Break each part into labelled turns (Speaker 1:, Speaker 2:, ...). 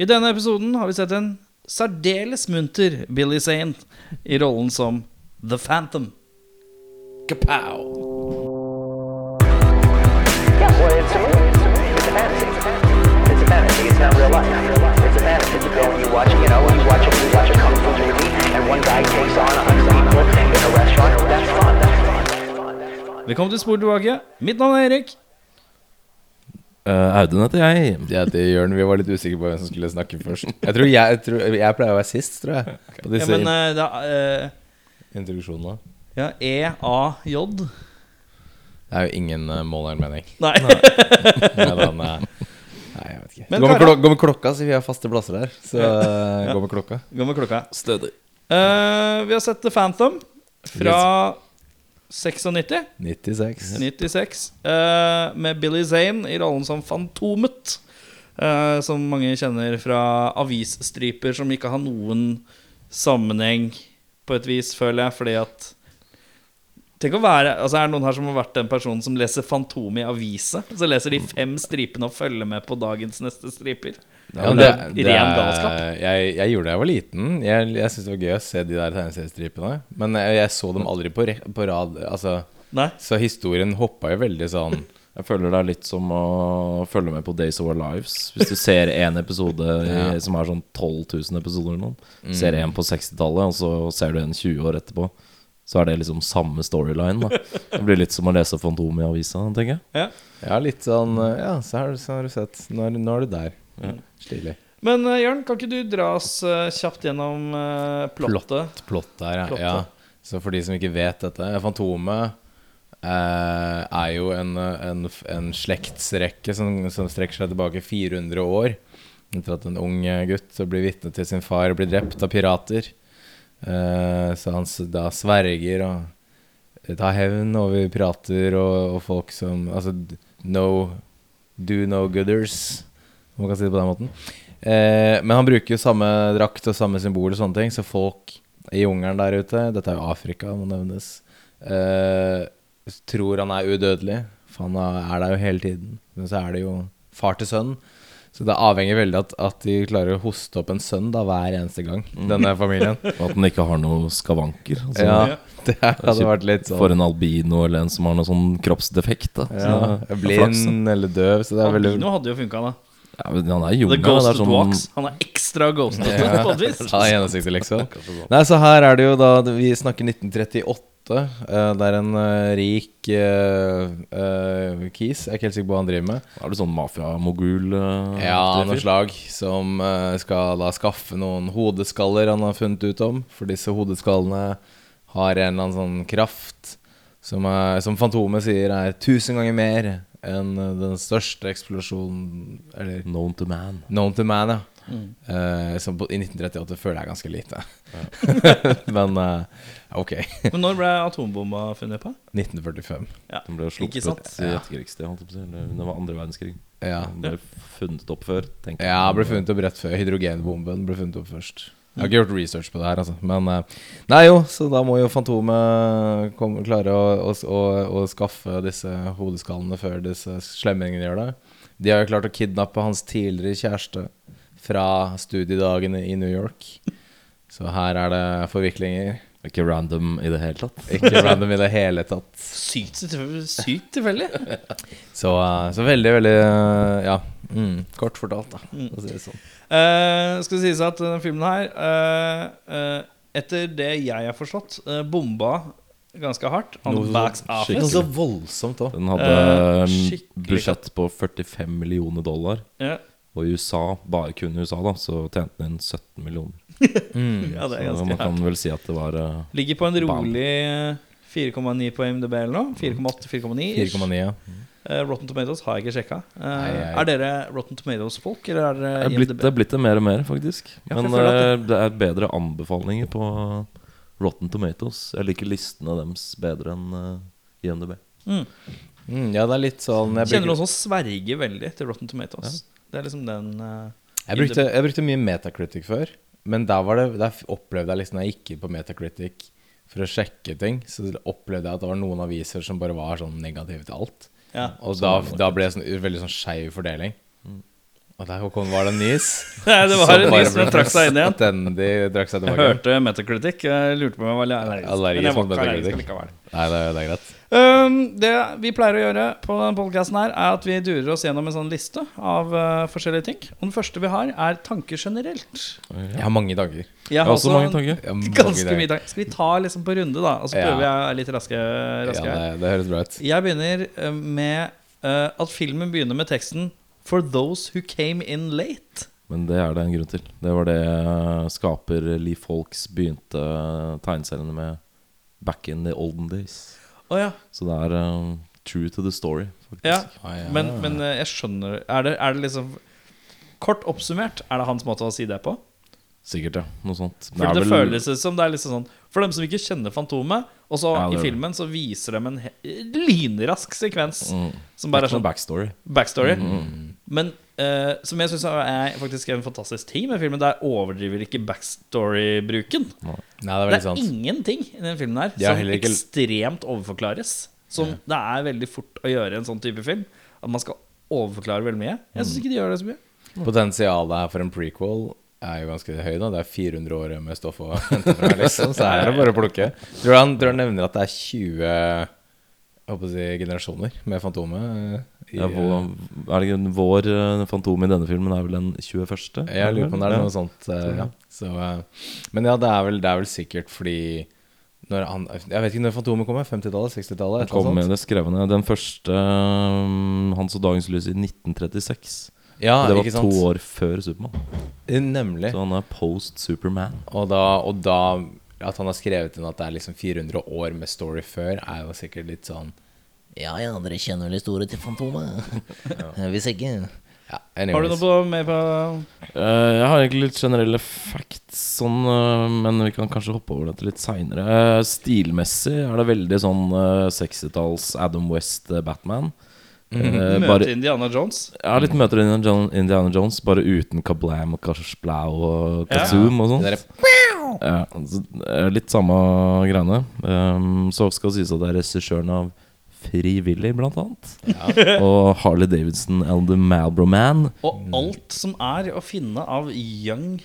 Speaker 1: I denne episoden har vi sett en særdeles munter Billy Zane i rollen som The Phantom. Kapow!
Speaker 2: Yeah, well, it's a movie. It's a movie. It's a fantasy. It's a fantasy. It's not real life. It's a fantasy. It's a film you watch. You know, you watch a you watch a kung fu movie, and one guy takes on a hundred people in a restaurant. That's fun. That's fun. That's fun. That's fun.
Speaker 1: Velkommen til Spor tilbake. Mitt navn er Erik.
Speaker 3: Eh, Audun heter jeg.
Speaker 4: Jeg heter Jørn. Vi var litt usikre på hvem som skulle snakke først. Jeg tror jeg, jeg tror, jeg pleier å være sist, tror jeg. På
Speaker 1: Ja,
Speaker 4: disse
Speaker 1: men eh, da, eh,
Speaker 4: in- introduksjonene.
Speaker 1: ja, E E-A-J.
Speaker 4: Det er jo ingen uh, mål eller mening.
Speaker 1: Nei.
Speaker 4: Med den, eh, nei, jeg vet ikke.
Speaker 1: Men
Speaker 4: gå, med
Speaker 1: Kara-
Speaker 4: klok gå med klokka, så vi har faste plasser her. Så eh, gå med klokka.
Speaker 1: Gå med klokka.
Speaker 3: Stødig.
Speaker 1: Eh, vi har sett The Phantom fra 96.
Speaker 4: 96.
Speaker 1: 96 eh, Med Billy Zane i rollen som Fantomet eh, Som mange kjenner fra avisstriper Som ikke har noen sammenheng På et vis, føler jeg Fordi at Tenk å være, altså er det noen her som har vært den personen Som leser Fantomet i avise Så leser de fem stripene og følger med på dagens neste striper
Speaker 4: Ja, men
Speaker 1: det,
Speaker 4: det-
Speaker 1: er
Speaker 4: det
Speaker 1: ren
Speaker 4: er-
Speaker 1: galskap
Speaker 4: Jeg, jeg gjorde det da jeg var liten. Jeg, jeg syntes det var gøy å se de der tegneseriestripene. Men jeg, jeg så dem aldri på, re på rad. Altså,
Speaker 1: Nei,
Speaker 4: så historien hoppa jo veldig sånn
Speaker 3: Jeg føler det er litt som å følge med på Days of Our Lives. Hvis du ser én episode i,
Speaker 4: Ja. Mm.
Speaker 3: som er sånn 12 000 episoder eller noe, ser én på 60-tallet, og så ser du en 20 år etterpå, så er det liksom samme storyline. da Det blir litt som å lese Fantomet i avisa, tenker jeg.
Speaker 1: ja
Speaker 4: Ja, litt sånn eh, Ja, så har, du- så har du sett. Nå er, nå er du der. Ja, Stilig.
Speaker 1: men eh, Jørn, kan ikke du dra oss eh, kjapt gjennom eh, plottet?
Speaker 4: Plott der, ja.
Speaker 1: Plottet.
Speaker 4: ja. Så for de som ikke vet dette Fantomet eh, er jo en, en, en slektsrekke som, som strekker seg tilbake 400 år. Etter at en ung eh, gutt blir vitne til sin far blir drept av pirater. Eh, så han s- da sverger og tar hevn over pirater og, og folk som Altså d- no do no gooders, om man kan si det på den måten. Eh, men han bruker jo samme drakt og samme symbol og sånne ting, så folk i jungelen der ute Dette er jo Afrika, må nevnes. Eh, tror han er udødelig, for han er er der jo hele tiden. Men så er det jo far til sønn. Så det avhenger veldig at, at de klarer å hoste opp en sønn da hver eneste gang, denne familien.
Speaker 3: Og at den ikke har noen skavanker. Altså,
Speaker 4: ja, det hadde vært litt sånn
Speaker 3: For en albino eller en som har noe sånn kroppsdefekt. Da.
Speaker 4: ja,
Speaker 3: Så, flaks, da.
Speaker 4: Blind eller døv, så det er veldig
Speaker 1: Albino hadde jo funket da
Speaker 3: Ja, men han er i
Speaker 1: The
Speaker 3: jungelen. Det er
Speaker 1: Ghosted
Speaker 3: sånn
Speaker 1: Walks. Han er ekstra ghosted
Speaker 4: Ja.
Speaker 1: på et vis.
Speaker 4: Ja, gjennomsiktig, liksom. Nei, så her er det jo da Vi snakker 1938. eh, det er en eh, rik eh, eh, kis. Jeg er ikke helt sikker på hva han driver med.
Speaker 3: Er det sånn mafia-mogul? eh,
Speaker 4: Ja,
Speaker 3: aktig
Speaker 4: noe
Speaker 3: fyr?
Speaker 4: slag som eh, skal da skaffe noen hodeskaller han har funnet ut om. For disse hodeskallene har en eller annen sånn kraft som, er, som Fantomet sier er tusen ganger mer enn eh, den største eksplosjonen Eller
Speaker 3: Known to man.
Speaker 4: known to man, ja.
Speaker 1: Mm.
Speaker 4: Eh, som på, i 1938 føler jeg er ganske lite. Men eh, ok.
Speaker 1: Men når ble atombomba funnet på?
Speaker 4: 1945.
Speaker 1: Ja.
Speaker 3: Den ble jo
Speaker 1: Ikke
Speaker 3: sluppet
Speaker 1: sant?
Speaker 3: i etterkrigstid. holdt jeg på å si, eller Under andre verdenskrig.
Speaker 4: Ja.
Speaker 3: Den ble funnet opp før. tenker
Speaker 4: Ja,
Speaker 3: jeg.
Speaker 4: ble funnet opp rett før hydrogenbomben ble funnet opp først. Jeg har ikke gjort research på det her, altså. Men eh, Nei jo, så da må jo Fantomet komme, klare å, å, å, å skaffe disse hodeskallene før disse slemmingene gjør det. De har jo klart å kidnappe hans tidligere kjæreste fra studiedagene i New York. Så her er det forviklinger.
Speaker 3: Ikke random i det hele tatt.
Speaker 4: Ikke random i det hele tatt.
Speaker 1: Sykt tilfeldig. Sykt tilfeldig.
Speaker 4: Så, eh, så veldig, veldig eh, Ja. Mm, kort fortalt, da.
Speaker 1: Mm.
Speaker 4: For å si det sånn.
Speaker 1: Eh, skal det sies at denne filmen her eh, eh, Etter det jeg har forstått, eh, bomba ganske hardt. On
Speaker 3: Noe
Speaker 1: backs
Speaker 3: sånn
Speaker 1: office.
Speaker 3: skikkelig
Speaker 4: så voldsomt òg.
Speaker 3: Den hadde
Speaker 1: Eh,
Speaker 3: en
Speaker 1: skikkelig
Speaker 3: budsjett på 45 millioner dollar.
Speaker 1: Ja.
Speaker 3: Og i USA, bare kun i USA, da, så tjente den inn 17 millioner.
Speaker 4: Mm,
Speaker 1: ja, det er
Speaker 3: Så
Speaker 1: ganske
Speaker 3: man
Speaker 1: hardt.
Speaker 3: kan vel si at det var eh,
Speaker 1: Ligger på en rolig eh, 4,9 på MDB eller noe. 4,8-4,9.
Speaker 4: 4,9, ja.
Speaker 1: Eh, Rotten Tomatoes har jeg ikke sjekka. Eh,
Speaker 4: Nei, jeg-
Speaker 1: Er dere Rotten Tomatoes-folk, eller er
Speaker 3: det
Speaker 1: dere
Speaker 3: er, blitt, det er blitt det mer og mer, faktisk.
Speaker 1: Ja, for jeg
Speaker 3: Men
Speaker 1: føler at
Speaker 3: eh, det er bedre anbefalinger på Rotten Tomatoes. Jeg liker listene deres bedre enn eh, IMDb.
Speaker 1: Mm.
Speaker 4: Mm, ja, det er litt sånn jeg
Speaker 1: Kjenner
Speaker 4: brukte,
Speaker 1: noen som sverger veldig til Rotten Tomatoes. Det er liksom den eh,
Speaker 4: jeg, brukte, jeg brukte mye Metacritic før, men der, var det, der opplevde jeg liksom når jeg gikk inn på Metacritic for å sjekke ting, så opplevde jeg at det var noen aviser som bare var sånn negative til alt.
Speaker 1: ja.
Speaker 4: Og da, da ble det sånn, veldig sånn skeiv fordeling. Og der Håkon var det en nis.
Speaker 1: Nei, det var en nis som trakk seg inn igjen.
Speaker 4: Stendig trakk seg
Speaker 1: Jeg
Speaker 4: tilbake.
Speaker 1: hørte Metacritic. Jeg lurte på om jeg var allergisk.
Speaker 4: Allergisk
Speaker 1: Men jeg var
Speaker 4: mot
Speaker 1: ikke
Speaker 4: Metacritic.
Speaker 1: allergisk likevel.
Speaker 4: Nei, det, er- det er greit.
Speaker 1: Um, det vi pleier å gjøre på denne podcasten her, er at vi durer oss gjennom en sånn liste av eh, forskjellige ting. Og den første vi har, er tanker generelt.
Speaker 4: Jeg har mange tanker.
Speaker 1: Jeg
Speaker 3: har også mange
Speaker 1: en-
Speaker 3: tanker.
Speaker 4: Jeg har mange
Speaker 1: Ganske
Speaker 4: tanker.
Speaker 1: mye tanker. Skal vi ta liksom på runde, da? Og så
Speaker 4: Ja.
Speaker 1: prøver jeg å være litt raske. raske
Speaker 4: Ja,
Speaker 1: her.
Speaker 4: det, det høres bra ut.
Speaker 1: Jeg begynner eh, med eh, at filmen begynner med teksten 'For those who came in late'.
Speaker 3: Men det er det en grunn til. Det var det eh, skaper Lee Folks begynte eh, tegneseriene med back in the olden days.
Speaker 1: Å ja.
Speaker 3: Så det er eh, true to the story, faktisk.
Speaker 1: ja.
Speaker 4: Ah, ja.
Speaker 1: Men, men eh, jeg skjønner er det, er det liksom Kort oppsummert, er det hans måte å si det på?
Speaker 3: Sikkert, ja. Noe sånt.
Speaker 1: For
Speaker 3: er
Speaker 1: det,
Speaker 3: vel-
Speaker 1: føles ut som det er liksom sånn For dem som ikke kjenner Fantomet, og så
Speaker 3: Ja, det
Speaker 1: i
Speaker 3: er det.
Speaker 1: filmen så viser de en he- lynrask sekvens
Speaker 3: Mm.
Speaker 1: som bare er
Speaker 3: Det er
Speaker 1: sånn
Speaker 3: noe backstory.
Speaker 1: backstory.
Speaker 3: Mm.
Speaker 1: Men eh, som jeg syns er faktisk en fantastisk ting med filmen, der overdriver ikke backstory-bruken.
Speaker 4: Nei, det er
Speaker 1: Det er
Speaker 4: veldig sant.
Speaker 1: ingenting i den filmen her
Speaker 4: De har
Speaker 1: som
Speaker 4: heller ikke-
Speaker 1: ekstremt overforklares. Som det er veldig fort å gjøre i en sånn type film. At man skal overforklare veldig mye. Jeg
Speaker 4: Mm.
Speaker 1: syns ikke de gjør det så mye.
Speaker 4: Potensialet her for en prequel er jo ganske høy. da Det er 400 år med stoff å hente fra, liksom. Så her er det bare å plukke. Tror du han, tror han nevner at det er 20 jeg håper å si, generasjoner med Fantomet? eh, i-
Speaker 3: Ja, vår, er det ikke- vår eh, fantom i denne filmen er vel den 21.?
Speaker 4: Jeg lurer på om det er
Speaker 3: Ja.
Speaker 4: noe sånt. eh, ja. Så, eh, men ja, det er, vel, det er vel sikkert fordi når han, Jeg vet ikke når Fantomet kommer. 50-tallet? 60-tallet? et eller
Speaker 3: Kom
Speaker 4: annet
Speaker 3: med
Speaker 4: sånt.
Speaker 3: det skrevne. Den første um, han så dagens lys i 1936.
Speaker 4: Ja,
Speaker 3: og det
Speaker 4: Ah, ikke
Speaker 3: var
Speaker 4: sant? Eh,
Speaker 3: to år før Supermann.
Speaker 4: Nemlig.
Speaker 3: Så han er post Superman.
Speaker 4: Og da, og da At han har skrevet inn at det er liksom 400 år med story før, er jo sikkert litt sånn
Speaker 5: Ja, ja, dere kjenner vel historien til Fantomet? Hvis ikke
Speaker 4: ja,
Speaker 1: Har du
Speaker 4: anyways.
Speaker 1: noe på, mer på
Speaker 3: Eh, jeg har egentlig litt generelle facts, sånn, eh, men vi kan kanskje hoppe over dette litt seinere. Eh, stilmessig er det veldig sånn eh, 60-talls Adam West eh, Batman.
Speaker 1: Mm.
Speaker 3: Eh,
Speaker 1: møte
Speaker 3: bare,
Speaker 1: Indiana Jones?
Speaker 3: ja, litt møter Indiana Jones, Indiana Jones, bare uten kablam og kasjblau og
Speaker 1: Ja.
Speaker 3: kazoom og sånt.
Speaker 4: Det der-
Speaker 3: Ja, så, eh, litt samme greiene. Ehm, så skal det sies at det er regissøren av Fri Willy, blant annet. og Harley Davidson and The Malbro Man.
Speaker 4: Mm.
Speaker 1: Og alt som er å finne av young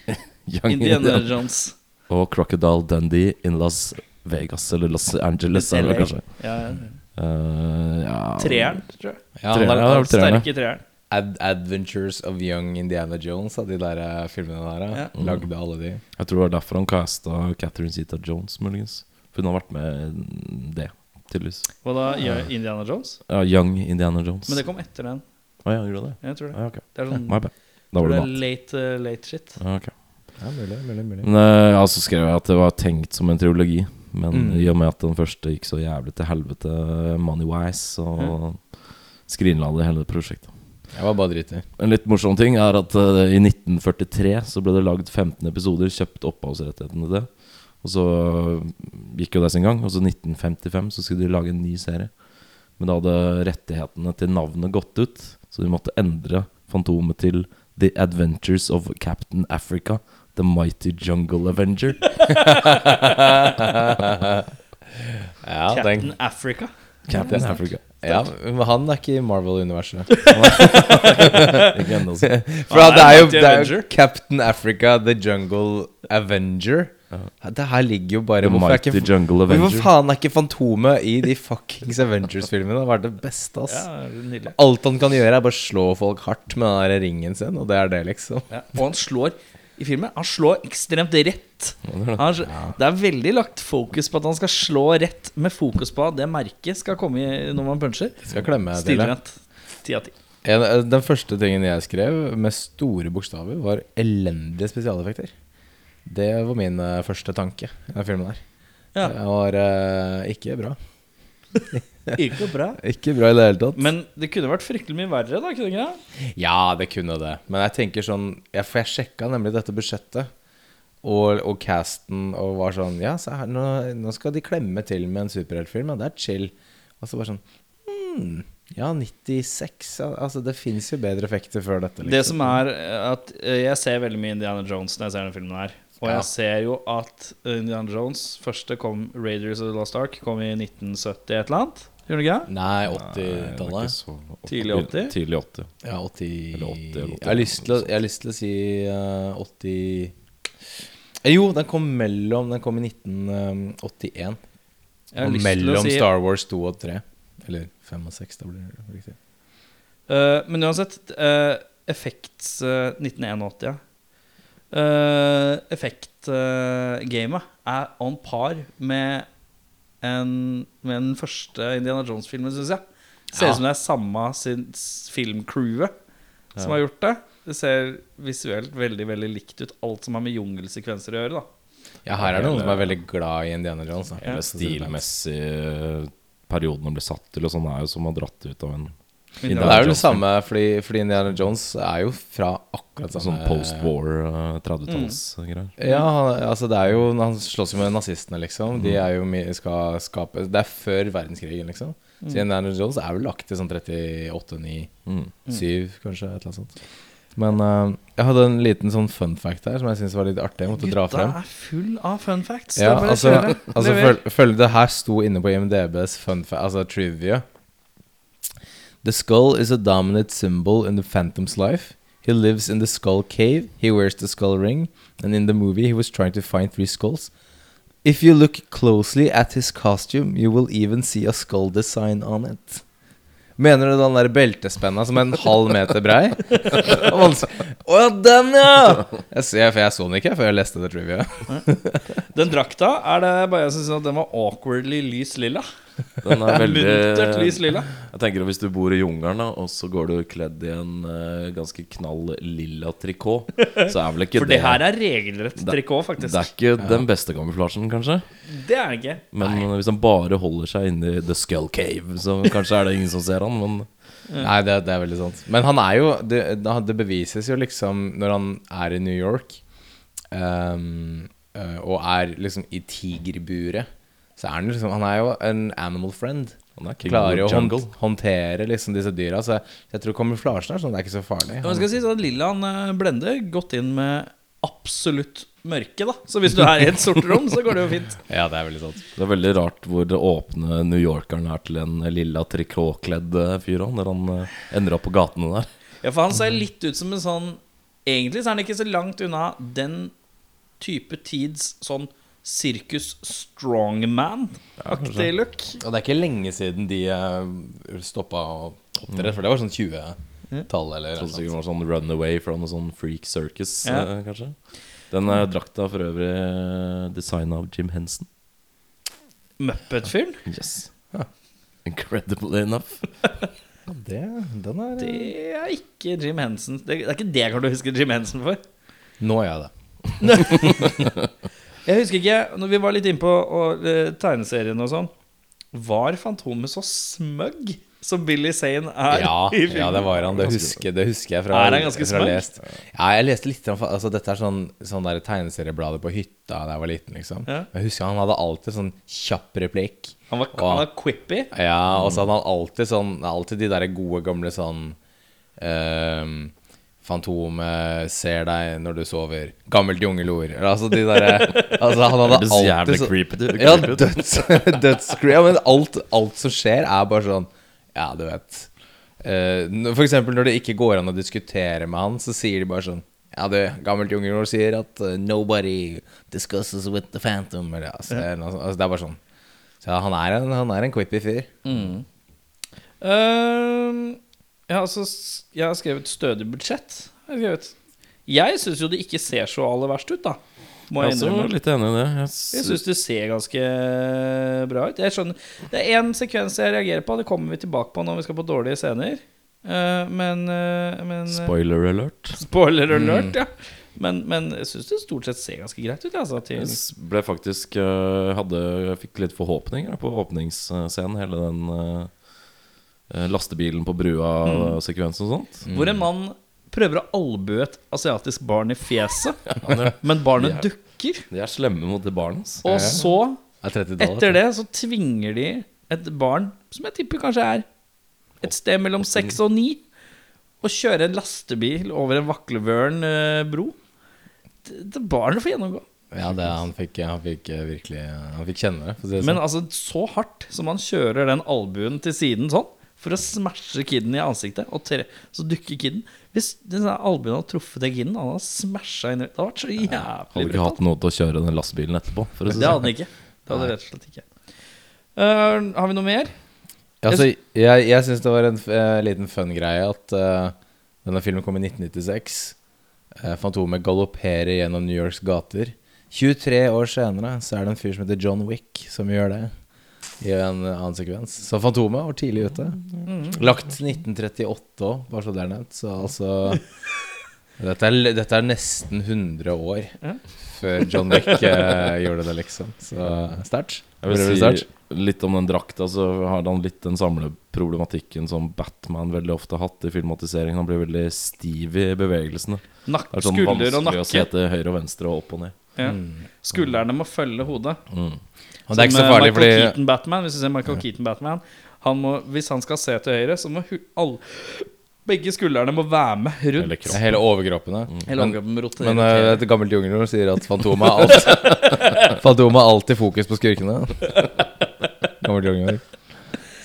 Speaker 3: Young
Speaker 1: Indiana
Speaker 3: Indian.
Speaker 1: Jones.
Speaker 3: Og Crocodile Dundee in Las Vegas, eller Los Angeles, er det kanskje.
Speaker 1: Ja, ja.
Speaker 3: Eh, ja.
Speaker 1: Treeren, tror jeg.
Speaker 4: ja, han har
Speaker 3: Tre- ja, det var treerne.
Speaker 1: Sterke treeren.
Speaker 4: Ad Adventures of Young Indiana Jones, da, de der eh, filmene der. eh,
Speaker 1: Ja.
Speaker 4: Lagde alle de.
Speaker 3: Jeg tror det var derfor han casta Catherine Zeta Jones, muligens. For hun har vært med i det, tydeligvis.
Speaker 1: Hva da? Young Indiana Jones?
Speaker 3: Ja, Young Indiana Jones.
Speaker 1: Men det kom etter den.
Speaker 3: Å, ja, gjorde det?
Speaker 1: Jeg tror det.
Speaker 3: Ja, ok.
Speaker 1: Det er sånn
Speaker 3: My bad. Da
Speaker 1: tror
Speaker 3: var
Speaker 1: det er
Speaker 3: det mat.
Speaker 1: late, eh, late shit.
Speaker 3: Ja, ok.
Speaker 4: Ja, mulig, mulig, mulig.
Speaker 3: Men, eh, ja, så skrev jeg at det var tenkt som en trilogi. Men
Speaker 4: Mm.
Speaker 3: i og med at den første gikk så jævlig til helvete money-wise, så
Speaker 1: Mm.
Speaker 3: skrinla det hele prosjektet.
Speaker 4: Jeg var bare driter.
Speaker 3: En litt morsom ting er at eh, i 1943 så ble det lagd 15 episoder, kjøpt opphavsrettighetene til det. Og så eh, gikk jo det sin gang. Og så 1955 så skulle de lage en ny serie. Men da hadde rettighetene til navnet gått ut, så de måtte endre Fantomet til The Adventures of Captain Africa. The Mighty Jungle Avenger.
Speaker 4: Ja, den,
Speaker 1: Captain Africa.
Speaker 3: Captain Africa.
Speaker 4: ja, men han er ikke i Marvel-universet.
Speaker 3: Ikke ennå, så.
Speaker 4: For at det er jo,
Speaker 1: Mighty
Speaker 4: det er jo
Speaker 1: Avenger.
Speaker 4: Captain Africa, The Jungle Avenger. Det her ligger jo bare
Speaker 3: The
Speaker 4: Hvorfor er
Speaker 3: Mighty
Speaker 4: ikke
Speaker 3: Jungle
Speaker 4: Hvorfor
Speaker 3: Avenger.
Speaker 4: faen er ikke Fantomet i de fuckings Avengers-filmene? Det har vært det beste, ass.
Speaker 1: Ja, nydelig.
Speaker 4: Alt han kan gjøre, er bare slå folk hardt med den der ringen sin, og det er det, liksom.
Speaker 1: Ja. Og han slår i filmen. Han slår ekstremt rett. Han, sl- det er veldig lagt fokus på at han skal slå rett, med fokus på at det merket skal komme i- når man puncher.
Speaker 4: Skal klemme til det.
Speaker 1: Stilrett. Ti av ti.
Speaker 4: En, eh, den første tingen jeg skrev med store bokstaver, var elendige spesialeffekter. Det var min eh, første tanke i den filmen her.
Speaker 1: Ja.
Speaker 4: Det var eh, ikke bra.
Speaker 1: Ikke bra.
Speaker 4: Ikke bra i det hele tatt.
Speaker 1: Men det kunne vært fryktelig mye verre, da. kunne det ikke det?
Speaker 4: Ja, det kunne det. Men jeg tenker sånn ja, For jeg sjekka nemlig dette budsjettet og, og casten og var sånn Ja, se her, nå, nå skal de klemme til med en superheltfilm, ja, det er chill. Og så bare sånn hmm, Ja, 96 ja, Altså, det fins jo bedre effekter før dette, liksom.
Speaker 1: Det som er eh, at eh, jeg ser veldig mye Indiana Jones når jeg ser denne filmen her. Og
Speaker 4: Ja.
Speaker 1: jeg ser jo eh, at Indiana Jones første kom Raiders of the Lost Ark kom i 1970 et eller annet. Gjør det ikke det?
Speaker 4: Nei,
Speaker 3: Nei, det er ikke
Speaker 4: 80-tallet.
Speaker 3: så-
Speaker 1: Tidlig 80?
Speaker 3: Tidlig 80.
Speaker 4: Ja, 80
Speaker 3: Eller 80, eller 81,
Speaker 4: jeg, har lyst til å, jeg har lyst til å si eh, 80 Eh, Jo, den kom mellom Den kom i 1981.
Speaker 1: Jeg har lyst til
Speaker 4: Og
Speaker 1: å
Speaker 4: mellom
Speaker 1: si-
Speaker 4: Star Wars 2 og 3. Eller 5 og 6, da blir det riktig.
Speaker 1: Eh, men uansett, uh, Effects eh, 1981 ja. Eh, Effect-gamet er on par med, en, med den første Indiana Jones-filmen, syns jeg. Det ser ut
Speaker 4: Ja.
Speaker 1: som det er samme sin- s- filmcrewet som har gjort det. Det ser visuelt veldig veldig likt ut, alt som har med jungelsekvenser å gjøre. da
Speaker 4: Ja, her er det noen som er veldig glad i Indiana Jones. da.
Speaker 3: Hele stilmessig perioden den ble satt til, og sånn er jo som har dratt ut av en
Speaker 4: Ja, Det er jo det samme, fordi, fordi Indiana Jones er jo fra akkurat samme
Speaker 3: sånn post-war eh,
Speaker 1: Mm.
Speaker 3: 30-tallsgreier.
Speaker 4: Ja, han- altså det er jo Han slåss jo med nazistene, liksom. De er jo mi- skal skape Det er før verdenskrigen, liksom. Så Indiana Jones er vel lagt til sånn 38, 9,
Speaker 3: Mm.
Speaker 4: 7, kanskje. Et eller annet sånt. Men eh, jeg hadde en liten sånn fun fact her som jeg syntes var litt artig. Jeg måtte dra
Speaker 1: Gutta
Speaker 4: frem.
Speaker 1: er full av fun facts.
Speaker 4: Ja,
Speaker 1: Det er bare å
Speaker 4: altså,
Speaker 1: kjøre.
Speaker 4: altså
Speaker 1: Lever.
Speaker 4: føl, følg det her sto inne på IMDb's fun fa altså trivia. The skull is a dominant symbol in the Phantom's life. He lives in the skull cave. He wears the skull ring. And in the movie, he was trying to find three skulls. If you look closely at his costume, you will even see a skull design on it. Mener du den der beltespenna som er en halv meter brei? Og man sa, Å ja, den, ja! Jeg, ser- for jeg så den ikke før jeg leste det trivia.
Speaker 1: Den drakta er det bare jeg som synes at den var awkwardly lys lilla.
Speaker 3: Den er veldig
Speaker 1: Muntert lys liksom. lilla.
Speaker 3: Jeg tenker at Hvis du bor i jungelen, da, og så går du kledd i en eh, ganske knall lilla trikot, så er vel ikke
Speaker 1: For det her er regelrett trikot,
Speaker 3: Det er
Speaker 1: faktisk.
Speaker 3: ikke den beste kamuflasjen, kanskje.
Speaker 1: Det er det ikke.
Speaker 3: Men hvis han bare holder seg inni The Skull Cave, så kanskje er det ingen som ser han, men
Speaker 4: Nei, det, det er veldig sant. Men han er jo det, da- det bevises jo liksom når han er i New York ehm, eh, og er liksom i tigerburet, så er han liksom Han er jo en animal friend.
Speaker 3: han er king
Speaker 4: Klarer jo
Speaker 3: of
Speaker 4: å
Speaker 3: the jungle.
Speaker 4: hånd, håndtere liksom disse dyra. Så jeg, jeg tror kamuflasjen er sånn, det er ikke så farlig.
Speaker 1: Men skal jeg si så at Lillaen eh, blender godt inn med absolutt mørke, da. Så hvis du er i et sort rom, så går det jo fint.
Speaker 4: Ja, det er veldig sant.
Speaker 3: Det er veldig rart hvor det åpne New Yorkeren er til en lilla trikotkledd eh, fyr han, når han eh, ender opp på gatene der.
Speaker 1: Ja, for han ser litt ut som en sånn Egentlig så er han ikke så langt unna den type tids sånn sirkus strongman-aktig look.
Speaker 4: Og det er ikke lenge siden de uh, stoppa å opptre, for det var sånn 20-tallet eller noe
Speaker 3: Trodde sikkert
Speaker 4: sånt.
Speaker 3: det var sånn Runaway fra noe sånn Freak Circus,
Speaker 1: Ja.
Speaker 3: eh, kanskje. Den er drakta for øvrig eh, designet av Jim Henson.
Speaker 1: Muppet-fyren.
Speaker 3: Yes. Incredibly enough.
Speaker 4: Det, den er
Speaker 1: Det er ikke Jim Henson. Det det er ikke det jeg kommer til å huske Jim Henson for.
Speaker 4: Nå er jeg det.
Speaker 1: Jeg husker ikke, når vi var litt innpå og, eh, tegneserien og sånn Var Fantomet så smøgg som Billy Zane er
Speaker 4: Ja,
Speaker 1: i filmen?
Speaker 4: ja, det var han. Det husker, det husker jeg fra,
Speaker 1: Er han ganske
Speaker 4: fra
Speaker 1: smart?
Speaker 4: lest. Ja, jeg leste litt om, altså, Dette er sånn, sånn der tegneseriebladet på hytta da jeg var liten. liksom
Speaker 1: Ja.
Speaker 4: Jeg husker Han hadde alltid sånn kjapp replikk.
Speaker 1: Han var, han var quippy.
Speaker 4: Ja, og så hadde han alltid sånn Alltid de der gode gamle sånn ehm, Fantomet ser deg når du sover. Gammelt jungelord. Eller, Altså de derre altså, Han hadde
Speaker 3: Høres
Speaker 4: alltid
Speaker 3: jævlig
Speaker 4: sånn-
Speaker 3: creepy ut.
Speaker 4: Ja, døds, dødscreepy. Ja, men alt, alt som skjer, er bare sånn Ja, du vet. Eh, n- for eksempel når det ikke går an å diskutere med han, så sier de bare sånn Ja, du, gammelt jungelord sier at eh, 'nobody discusses with the phantom'. Eller, altså, eller noe sånt. altså, det er bare sånn. Så ja, han er en, han er en quippy fyr.
Speaker 1: Ehm, jeg, har altså, s- jeg har skrevet stødig budsjett. Jeg, har skrevet. jeg syns jo det ikke ser så aller verst ut, da. Må jeg
Speaker 3: Jeg er også
Speaker 1: innrømme.
Speaker 3: litt enig i det.
Speaker 1: Jeg
Speaker 3: Jeg, s-
Speaker 1: syns det ser ganske eh, bra ut. Jeg skjønner Det er én sekvens jeg reagerer på. Det kommer vi tilbake på når vi skal på dårlige scener. Eh, men, eh, men eh,
Speaker 3: Spoiler alert.
Speaker 1: Spoiler alert, ja. Men, men jeg syns det stort sett ser ganske greit ut. Altså, til,
Speaker 3: Jeg s- ble faktisk eh, hadde, jeg Fikk litt forhåpninger da, på åpningsscenen. Hele den eh, eh, lastebilen på
Speaker 1: Mm.
Speaker 3: brua-sekvensen og sånt.
Speaker 1: liksom- Hvor en mann prøver å albue et asiatisk barn i fjeset, men barnet
Speaker 3: Ja.
Speaker 1: dukker.
Speaker 3: De er slemme mot det barnet. ass.
Speaker 1: Og så,
Speaker 4: Det er 30-tallet.
Speaker 1: etter det, så tvinger de et barn, som jeg tipper kanskje er et sted mellom seks og ni, å kjøre en lastebil over en vaklevøren eh, bro. Det, det barnet får gjennomgå.
Speaker 4: Ja, det, han, fikk, han fikk eh, virkelig Han fikk kjenne det. For å si det
Speaker 1: Men
Speaker 4: sånn.
Speaker 1: altså, så hardt som han kjører den albuen til siden sånn, for å smashe kiden i ansiktet, og tre, så dukker kiden Hvis den der albuen hadde truffet den kiden, han hadde smasha inn i Det hadde vært så jævlig
Speaker 3: Hadde ikke hatt
Speaker 1: brutalt.
Speaker 3: noe til å kjøre den lastebilen etterpå. For å si
Speaker 1: Det hadde
Speaker 3: sånn.
Speaker 1: han ikke. Det hadde han rett og slett ikke. Eh, har vi noe mer?
Speaker 4: altså, jeg jeg syns det var en f- eh, liten fun greie at eh, denne filmen kom i 1996. Eh, Fantomet galopperer gjennom New Yorks gater. 23 år senere så er det en fyr som heter John Wick, som gjør det. I en annen sekvens. Så Fantomet var tidlig ute. Lagt 1938 òg, bare så det er nevnt. Så altså dette er, dette er nesten 100 år
Speaker 1: Ja.
Speaker 4: før John Wick eh, gjorde det, liksom. Så sterkt.
Speaker 3: Jeg
Speaker 4: Prøver du
Speaker 3: vil
Speaker 4: sterkt?
Speaker 3: si litt om den drakta, så har han litt den samleproblematikken som Batman veldig ofte har hatt i filmatiseringen. Han blir veldig stiv i bevegelsene.
Speaker 1: Nakk,
Speaker 3: Det er sånn
Speaker 1: skulder og
Speaker 3: vanskelig å se
Speaker 1: nakke.
Speaker 3: til høyre og venstre og opp og ned.
Speaker 1: Ja. Skuldrene må følge hodet.
Speaker 4: Og det er ikke så
Speaker 1: Som, eh,
Speaker 4: farlig,
Speaker 1: Michael
Speaker 4: fordi
Speaker 1: Keaton Batman, hvis du ser Michael Keaton Batman han må, Hvis han skal se til høyre, så må hu- alle, begge skuldrene må være med rundt.
Speaker 3: Eller Mm.
Speaker 4: det er
Speaker 3: kropp.
Speaker 4: hele overkroppene.
Speaker 1: Hele overkroppen roterer.
Speaker 4: Men eh, et gammelt jungelord sier at Fantomet har alt Fantomet har alltid fokus på skurkene. Gammelt jungelord.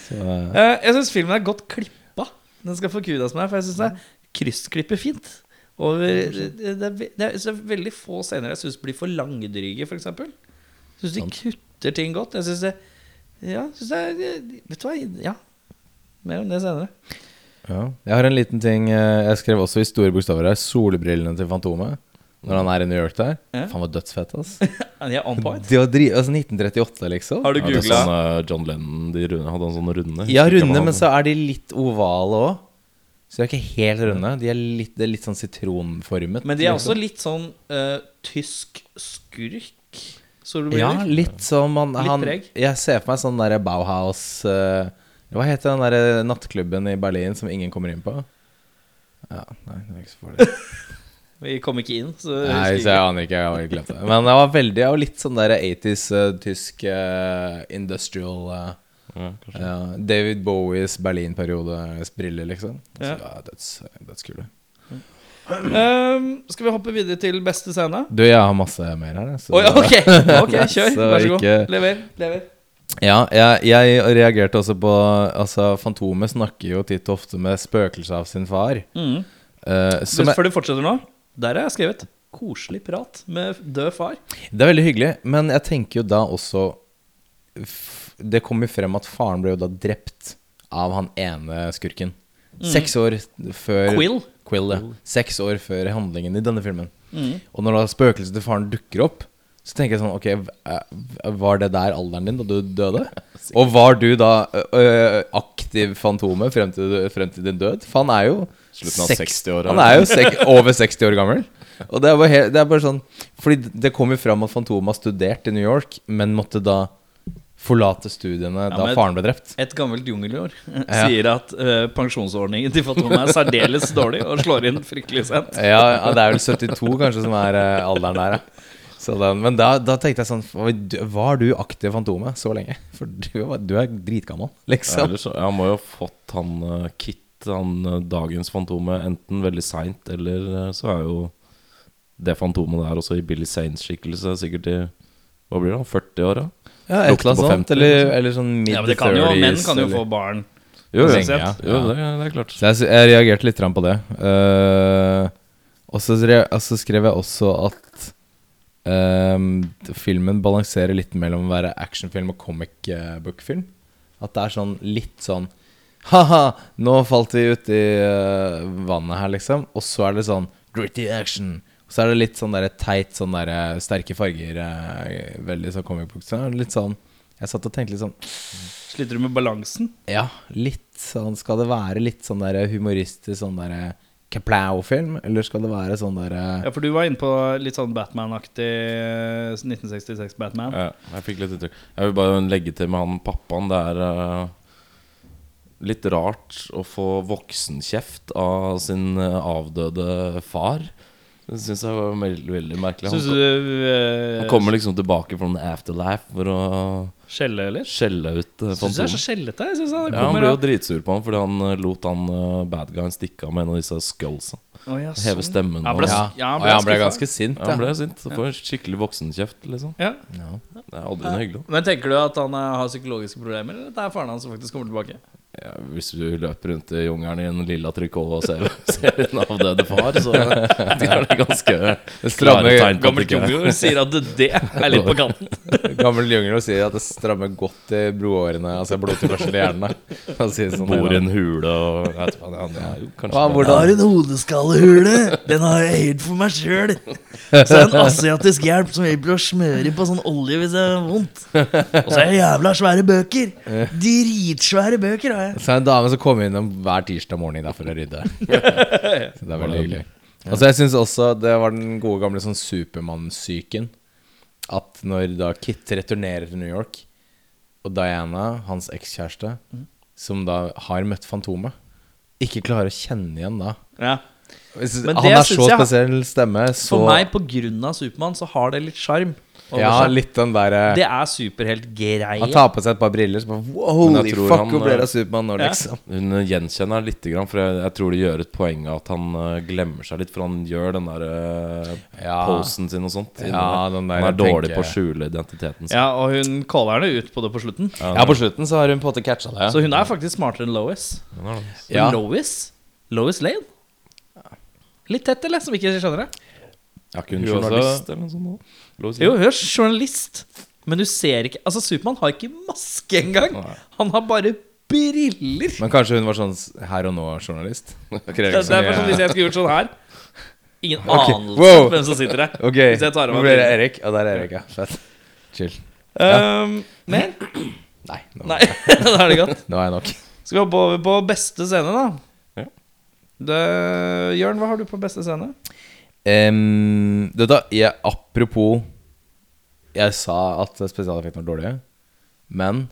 Speaker 4: Så, eh,
Speaker 1: Eh, jeg syns filmen er godt klippa. Den skal få kudas meg, for jeg syns det er kryssklipper fint. Over, det, det, er ve- det, er, så det er veldig få scener jeg syns blir for langdryge, f.eks. Jeg syns de kutter ting godt. Jeg syns det Ja, synes det er Vet du hva? Ja. Mer om det senere.
Speaker 4: ja. Jeg har en liten ting eh, jeg skrev også i store bokstaver her. Solbrillene til Fantomet. Når han er i New York der.
Speaker 1: Ja.
Speaker 4: Faen, var dødsfett, ass.
Speaker 1: Ja, De er on point.
Speaker 4: Det å drive, altså 1938, liksom.
Speaker 1: Har du
Speaker 3: Ja, det er
Speaker 1: googla?
Speaker 3: sånn, eh, John Lennon de runde, hadde en sånn runde.
Speaker 4: Ja,
Speaker 3: Husker ikke hva
Speaker 4: runde,
Speaker 3: han
Speaker 4: men
Speaker 3: hadde.
Speaker 4: så er de litt ovale òg. Så de er ikke helt runde. De er litt, det er litt sånn sitronformet.
Speaker 1: Men de er også
Speaker 4: liksom.
Speaker 1: litt sånn eh, tysk skurk. Så du
Speaker 4: Ja,
Speaker 1: mener?
Speaker 4: litt som han,
Speaker 1: Litt
Speaker 4: han
Speaker 1: preg.
Speaker 4: Jeg ser for meg sånn derre Bauhaus eh, Hva heter den derre nattklubben i Berlin som ingen kommer inn på? Ja, nei, det er ikke så farlig.
Speaker 1: Vi kom ikke inn, så jeg
Speaker 4: Nei,
Speaker 1: husker
Speaker 4: så jeg aner ikke. Jeg har glemt det. Men det var veldig jeg var litt sånn der 80s eh, tysk eh, industrial eh,
Speaker 3: Ja, kanskje.
Speaker 4: ja, David Bowies Berlin-periodes briller, liksom. Så,
Speaker 1: Ja.
Speaker 4: ja, døds- Dødskule.
Speaker 1: ikke. Eh, skal vi hoppe videre til beste scene?
Speaker 4: Du, jeg har masse mer her. jeg, Så,
Speaker 1: Oi, ok, ok, kjør.
Speaker 4: Så
Speaker 1: Vær så god.
Speaker 4: ikke-
Speaker 1: Lever. lever
Speaker 4: Ja, jeg, jeg reagerte også på Altså, Fantomet snakker jo titt og ofte med spøkelset av sin far.
Speaker 1: Mhm.
Speaker 4: eh, som
Speaker 1: Men
Speaker 4: er,
Speaker 1: Før du fortsetter nå, der har jeg skrevet 'koselig prat med død far'.
Speaker 4: det er veldig hyggelig, men jeg tenker jo da også f- Det kommer jo frem at faren ble jo da drept av han ene skurken. Seks år før
Speaker 1: Quill.
Speaker 4: Quill,
Speaker 3: Mm.
Speaker 4: ja. Seks år før handlingen i denne filmen. Og når da spøkelset til faren dukker opp, så tenker jeg sånn Ok, v- var det der alderen din da du døde? Og var du da ø, ø, aktiv fantome frem til, frem til din død? For han er jo
Speaker 3: Slutten av
Speaker 4: seks-
Speaker 3: 60 år,
Speaker 4: Han
Speaker 3: eller?
Speaker 4: er jo sek, over 60 år gammel. Og det er bare, he- det er bare sånn Fordi det kom jo fram at Fantomet har studert i New York, men måtte da forlate studiene da
Speaker 1: men-
Speaker 4: faren ble drept.
Speaker 1: Et gammelt jungelår
Speaker 4: Ja.
Speaker 1: sier at eh, pensjonsordningen til Fatoma er særdeles dårlig og slår inn fryktelig sent.
Speaker 4: Ja, ja, det er vel 72 kanskje som er eh, alderen der, ja. Så den, men da, da tenkte jeg sånn "Oi, du- Var du aktiv Fantomet så lenge? For du, var- du er dritgammel,
Speaker 3: Ja,
Speaker 4: liksom.
Speaker 3: ellers så- ja, han må jo ha fått han eh, Kit, han eh, dagens Fantomet, enten veldig seint, eller eh, så er jo det Fantomet der også i Billy Saints skikkelse sikkert i Hva blir det, 40-åra?
Speaker 4: Ja,
Speaker 3: et eller annet sånt,
Speaker 4: eller, eller sånn mid
Speaker 1: Ja,
Speaker 4: 30s.
Speaker 1: men det kan jo, Menn kan jo få barn.
Speaker 3: Jo, jo,
Speaker 1: Lenge,
Speaker 3: jo,
Speaker 1: ja.
Speaker 3: det, det er klart.
Speaker 4: Så jeg, sy- jeg reagerte litt grann på det. Eh, og så skrev, og så skrev jeg også at eh, filmen balanserer litt mellom å være actionfilm og comic eh, book-film. At det er sånn litt sånn Ha-ha, nå falt vi uti uh, vannet her, liksom. Og så er det sånn gritty action. Og så er det litt sånn der teit, sånn der eh, sterke farger. eh, veldig sånn comic book. Så er det litt sånn Jeg satt og tenkte litt sånn
Speaker 1: Sliter du med balansen?
Speaker 4: ja, litt sånn Skal det være litt sånn der humoristisk sånn der Kaplow-film? Eller skal det være sånn der
Speaker 1: Ja, for du var inne på litt sånn Batman-aktig eh, 1966-Batman.
Speaker 3: Ja, jeg fikk litt inntrykk. Jeg vil bare legge til med han pappaen. Det er eh, litt rart å få voksenkjeft av sin eh, avdøde far. Det syns jeg var veldig, veldig merkelig.
Speaker 1: Syns
Speaker 3: Han,
Speaker 1: du
Speaker 3: han
Speaker 1: eh,
Speaker 3: kommer liksom tilbake fra en afterlife for å
Speaker 1: skjelle, eller?
Speaker 3: skjelle ut eh,
Speaker 1: Syns du det er
Speaker 3: Fantomet.
Speaker 1: så skjellete? Jeg synes han
Speaker 3: Ja, han
Speaker 1: kommer
Speaker 3: ble jo
Speaker 1: av-
Speaker 3: dritsur på han fordi han eh, lot han eh, bad guyen stikke av med en av disse skullsa.
Speaker 1: Å, ja,
Speaker 3: Heve
Speaker 1: sånn.
Speaker 3: stemmen
Speaker 1: Ja,
Speaker 3: og-
Speaker 1: ble-
Speaker 4: Ja,
Speaker 1: ja, han
Speaker 4: han
Speaker 1: ble
Speaker 4: ble, han ble
Speaker 1: skuffet.
Speaker 4: ganske sint.
Speaker 3: Ja, han ble sint. Så får han skikkelig voksenkjeft, liksom.
Speaker 1: Ja.
Speaker 3: Det er aldri noe hyggelig. da.
Speaker 1: Men tenker du at han eh, har psykologiske problemer, eller at det er faren hans som faktisk kommer tilbake?
Speaker 3: Ja, hvis du løper rundt i jungelen i en lilla trikot og ser, ser en avdøde far, så det er det ganske klare
Speaker 4: stramme
Speaker 3: tegn på at
Speaker 1: Gammel
Speaker 3: det ikke er
Speaker 1: jungel sier at det er litt på kanten.
Speaker 4: Gammel jungel sier at det strammer godt i blodårene, altså blodtilførsel i hjernen. Han sier sånn
Speaker 3: bor i en hule og jeg vet, faen, ja, jo, kanskje
Speaker 4: Hva,
Speaker 3: det.
Speaker 4: hvordan-
Speaker 6: har en hodeskallehule. Den har jeg helt for meg sjøl. Så er det en asiatisk hjelp som hjelper å smøre på sånn olje hvis det er vondt. Og så er det jævla svære bøker. Dritsvære bøker har jeg.
Speaker 4: Så er det en dame som kommer innom hver tirsdag morgen der for å rydde. Så det er veldig hyggelig. Altså jeg synes også det var den gode gamle sånn Supermann-psyken. At når da Kit returnerer til New York, og Diana, hans ekskjæreste, som da har møtt Fantomet, ikke klarer å kjenne igjen da.
Speaker 1: Ja.
Speaker 4: Jeg synes-
Speaker 1: Men det
Speaker 4: Han har
Speaker 1: synes
Speaker 4: så
Speaker 1: jeg har-
Speaker 4: spesiell stemme. Så,
Speaker 1: For meg, på grunn av Supermann, så har det litt sjarm. over
Speaker 4: Ja,
Speaker 1: seg.
Speaker 4: litt den derre
Speaker 1: sånn, Det er superheltgreie.
Speaker 4: Han tar på seg et par briller, så bare
Speaker 3: Men
Speaker 4: Holy
Speaker 3: jeg tror
Speaker 4: fuck,
Speaker 3: han,
Speaker 4: hvor ble det
Speaker 3: eh,
Speaker 4: av Supermann nå,
Speaker 1: Ja.
Speaker 4: liksom?
Speaker 3: Hun gjenkjenner han lite grann, for jeg, jeg tror de gjør et poeng av at han eh, glemmer seg litt, for han gjør den der eh,
Speaker 4: Ja.
Speaker 3: posen sin og sånt. inni
Speaker 4: Ja,
Speaker 3: der.
Speaker 4: den der
Speaker 3: han er
Speaker 4: tenker
Speaker 3: dårlig på å
Speaker 4: jeg.
Speaker 3: skjule identiteten sin.
Speaker 1: Ja, og hun caller henne ut på det på slutten.
Speaker 4: Ja, på slutten så har hun på en måte catcha det.
Speaker 1: Så hun er faktisk smartere enn Lois. For
Speaker 4: Ja.
Speaker 1: Lois? Lois Lane? Litt tett, eller? Som ikke skjønner det.
Speaker 3: Er ikke hun
Speaker 4: Hun også-
Speaker 3: journalist eller noe sånt? nå?
Speaker 1: Jo, hør, journalist. Men du ser ikke Altså, Supermann har ikke maske engang. Han har bare briller.
Speaker 4: Men kanskje hun var sånn s- her og nå-journalist?
Speaker 1: Det, det er bare sånn Hvis jeg skulle gjort sånn her Ingen anelse
Speaker 4: Wow.
Speaker 1: om hvem som sitter der.
Speaker 4: Ok,
Speaker 1: Hvis jeg tar av
Speaker 4: hvor
Speaker 1: meg
Speaker 4: ble det
Speaker 1: brillene.
Speaker 4: Erik? Ja, der er Erik, ja. Fett. Chill.
Speaker 1: Ehm, Mer?
Speaker 4: Nei, nå,
Speaker 1: Nei, da er det godt.
Speaker 4: nå er jeg nok.
Speaker 1: Skal vi hoppe over på beste scene, da?
Speaker 3: Ja.
Speaker 1: Det, Jørn, hva har du på beste scene?
Speaker 4: Em, du vet da, jeg, apropos Jeg sa at spesialeffektene var dårlige, men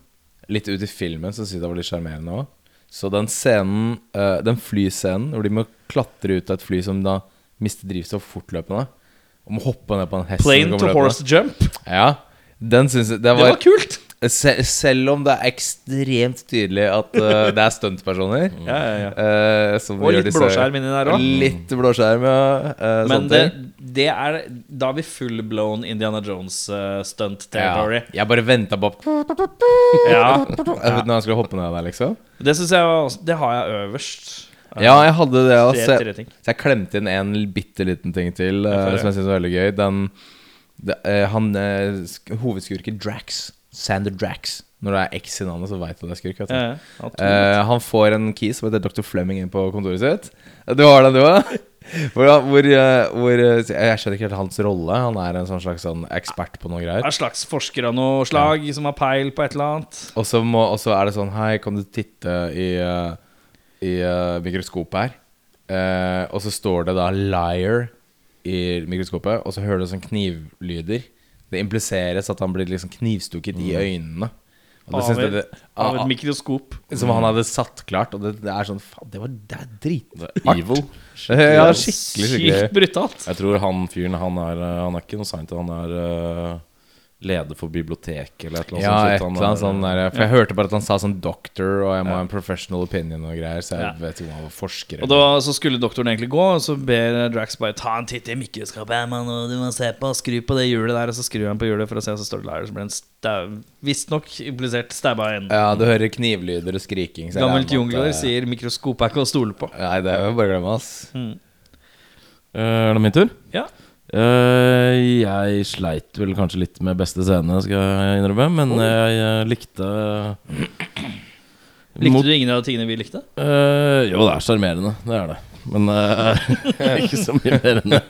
Speaker 4: litt ut i filmen så synes jeg det var litt sjarmerende òg. Så den scenen, eh, den flyscenen hvor de må klatre ut av et fly som da mister drivstoff fortløpende, og må hoppe ned på en hest som
Speaker 1: Plane
Speaker 4: kommer
Speaker 1: to
Speaker 4: løpende.
Speaker 1: horse jump.
Speaker 4: Ja, den synes jeg
Speaker 1: Det var kult.
Speaker 4: Se- selv om det er ekstremt tydelig at eh, det er stuntpersoner.
Speaker 1: Ja, ja, ja.
Speaker 4: eh, som
Speaker 1: Mm. Og
Speaker 4: gjør
Speaker 1: litt blåskjerm inni der
Speaker 4: Og
Speaker 1: òg.
Speaker 4: Litt blåskjerm, ja. eh,
Speaker 1: Men
Speaker 4: sånne
Speaker 1: det,
Speaker 4: ting.
Speaker 1: det er Da er vi full blown Indiana eh, Jones-stunt-territory.
Speaker 4: Ja. Jeg bare venta på Jeg
Speaker 1: Ja.
Speaker 4: vet Når han skulle hoppe ned der, liksom.
Speaker 1: Det syns jeg var også- Det har jeg øverst.
Speaker 4: Ja, jeg hadde det.
Speaker 1: Tre-
Speaker 4: Altså,
Speaker 1: tre
Speaker 4: så,
Speaker 1: ting.
Speaker 4: jeg, så jeg klemte inn en bitte liten ting til eh,
Speaker 1: får høre.
Speaker 4: som jeg syntes var veldig gøy. Den det, eh, Han eh, sk- hovedskurken Drax, Sander Drax Når det er X i navnet, så veit du det er skurk. vet du.
Speaker 1: Ja, ja. Ja, to.
Speaker 4: Eh, han får en key som heter Dr. Fleming inn på kontoret sitt. Du har den, du òg? Hvor, han- hvor, eh, hvor eh, Jeg skjønner ikke helt hans rolle. Han er en sånn slags sånn ekspert på noe
Speaker 1: Det er
Speaker 4: greier.
Speaker 1: en slags forsker av noe slag som har peil på et eller annet.
Speaker 4: Og så må- og så er det sånn Hei, kan du titte i, eh, i eh, mikroskopet her? Eh, og så står det da 'liar' i mikroskopet, og så hører du sånn knivlyder. Det impliseres at han blir liksom knivstukket i øynene. Og det
Speaker 1: Mm. Av
Speaker 4: synes jeg
Speaker 1: et,
Speaker 4: det-
Speaker 1: av et mikroskop.
Speaker 4: som han hadde satt klart. Og det, det er sånn Faen, det var det er drit.
Speaker 3: Det er evil.
Speaker 4: Ja, skikkelig,
Speaker 1: Sykt
Speaker 4: skikkelig.
Speaker 1: brutalt.
Speaker 3: Jeg tror han fyren, han er, eh, han er ikke noe scientist, han er eh, leder for biblioteket eller et eller annet.
Speaker 4: Ja,
Speaker 3: sånt
Speaker 4: et
Speaker 3: shit. Han
Speaker 4: eller annet
Speaker 3: er-
Speaker 4: sånn der. For jeg hørte bare at han sa sånn doctor, og jeg må ha en professional opinion og greier, så jeg
Speaker 1: Ja.
Speaker 4: vet ikke om han var forsker.
Speaker 1: Og da så skulle doktoren egentlig gå, og så ber Drax bare ta en titt i mikroskapet. her, mann, og du må se på, Skru på det hjulet der, og så skrur han på hjulet for å se, og så står det lærer som blir en stau... Visstnok implisert stabba i enden.
Speaker 4: Ja, du hører knivlyder og skriking. så jeg
Speaker 1: Gammelt
Speaker 4: regner med at
Speaker 1: jungler
Speaker 4: det-
Speaker 1: sier Mm. 'mikroskop er ikke å stole på'.
Speaker 4: Nei, det er jo bare å glemme, ass.
Speaker 3: Eh, er det min tur?
Speaker 1: Ja.
Speaker 3: Eh, jeg sleit vel kanskje litt med beste scene, skal jeg innrømme, men jeg, eh, likte
Speaker 1: Likte
Speaker 3: Mot-
Speaker 1: du ingen av tingene vi likte?
Speaker 3: Eh, jo, det er sjarmerende. Det er det. Men eh, ikke så mye mer enn det.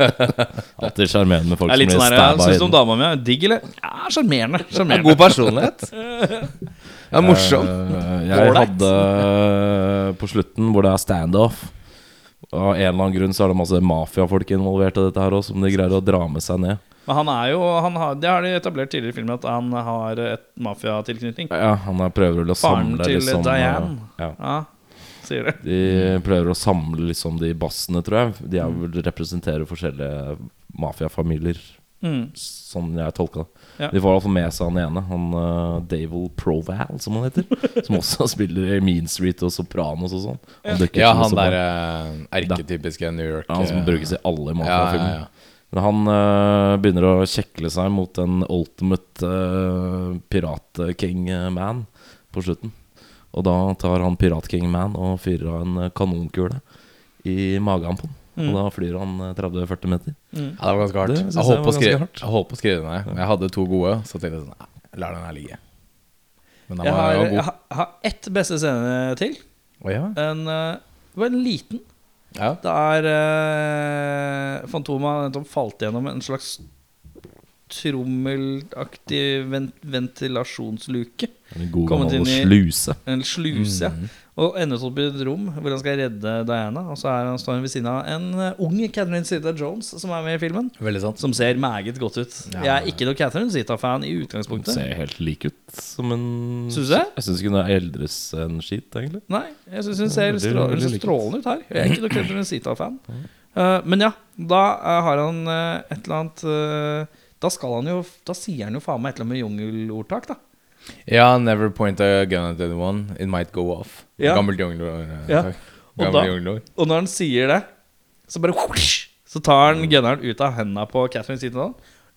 Speaker 3: Alltid sjarmerende med folk
Speaker 1: Det er
Speaker 3: som
Speaker 1: litt sånn
Speaker 3: blir
Speaker 1: her,
Speaker 3: stabba i
Speaker 1: Syns du om
Speaker 3: den.
Speaker 1: dama mi er digg, eller? Ja, sjarmerende.
Speaker 4: Det er
Speaker 1: Sjarmerende.
Speaker 4: god personlighet. Ja, morsom.
Speaker 3: Eh, jeg
Speaker 1: Ålreit.
Speaker 3: hadde eh, på slutten, hvor det er standoff Av en eller annen grunn så er det masse mafiafolk involvert i dette her også, som de greier å dra med seg ned.
Speaker 1: Men han er jo han har, Det har de etablert tidligere i filmen, at han har et mafiatilknytning.
Speaker 3: Ja, han er prøver vel å
Speaker 1: Faren
Speaker 3: samle
Speaker 1: til
Speaker 3: liksom, eh,
Speaker 1: Diane.
Speaker 3: Ja.
Speaker 1: Ja. sier det.
Speaker 3: De prøver å samle liksom de bassene, tror jeg. De er vel representerer forskjellige mafiafamilier,
Speaker 1: Mm.
Speaker 3: sånn jeg tolka det.
Speaker 1: Ja.
Speaker 3: De får iallfall med seg han ene, han uh, Davel Proval, som han heter. som også spiller i Mean Street og Sopranos og sånn. Han dukker
Speaker 4: Ja,
Speaker 3: opp
Speaker 4: han
Speaker 3: som
Speaker 4: der
Speaker 3: Sopranos.
Speaker 4: eh, erketypiske New York
Speaker 3: Han som
Speaker 4: eh,
Speaker 3: brukes i alle
Speaker 4: ja,
Speaker 3: mafiafilmer.
Speaker 4: ja, ja.
Speaker 3: Men han øh, begynner å kjekle seg mot en ultimate øh, pirat-king-man på slutten. Og da tar han pirat-king-man og fyrer av en øh, kanonkule i magen på han.
Speaker 1: Mm.
Speaker 3: Og da flyr han øh, 30-40 meter.
Speaker 4: Ja, det var ganske hardt.
Speaker 3: Det
Speaker 4: Jeg
Speaker 3: synes jeg
Speaker 4: holdt på
Speaker 3: var
Speaker 4: å skrive-
Speaker 3: ganske hardt.
Speaker 4: jeg holdt på å skrive det ned. Jeg hadde to gode, så tenkte jeg sånn Nei, jeg lar den her ligge. Men den
Speaker 1: Jeg
Speaker 4: var
Speaker 1: har,
Speaker 4: jo
Speaker 1: jeg
Speaker 4: god.
Speaker 1: har- jeg har ett beste scene til.
Speaker 4: Å, ja.
Speaker 1: En, eh, det var en liten.
Speaker 4: Ja.
Speaker 1: Det er eh, Fantomet har nettopp falt gjennom en slags trommelaktig vent ventilasjonsluke.
Speaker 3: En god
Speaker 1: Kommet
Speaker 3: gammel
Speaker 1: inn i-
Speaker 3: sluse.
Speaker 1: En sluse. Og ender opp i et rom hvor han skal redde Diana. Og så er han, står han ved siden av en eh, ung Catherine Zeta Jones som er med i filmen.
Speaker 4: Veldig sant.
Speaker 1: Som ser meget godt ut.
Speaker 4: Ja.
Speaker 1: Jeg er ikke noe Catherine Zeta-fan i
Speaker 3: Hun
Speaker 1: utgangspunktet.
Speaker 3: ser helt lik ut som en
Speaker 1: Synes du det?
Speaker 3: Jeg syns ikke hun er eldres enn skit, egentlig.
Speaker 1: Nei, jeg syns hun
Speaker 3: Ja,
Speaker 1: ser
Speaker 3: veldig-
Speaker 1: strå- hun
Speaker 3: veldig
Speaker 1: ser
Speaker 3: likt.
Speaker 1: strålende ut her. Jeg er ikke noe Catherine Zita-fan. Eh, men ja, da eh, har han eh, et eller annet eh, Da skal han jo Da sier han jo faen meg et eller annet med jungelordtak, da.
Speaker 4: Ja, never point a gun at anyone. It might go off.
Speaker 1: Ja.
Speaker 4: Gammelt jungelord. eh,
Speaker 1: Ja.
Speaker 4: takk.
Speaker 1: Og
Speaker 4: Gammelt
Speaker 1: da-
Speaker 4: jungelord.
Speaker 1: Og når han sier det, så bare whoosh, Så tar
Speaker 4: Mm.
Speaker 1: han gunneren ut av hendene på Catherine Zita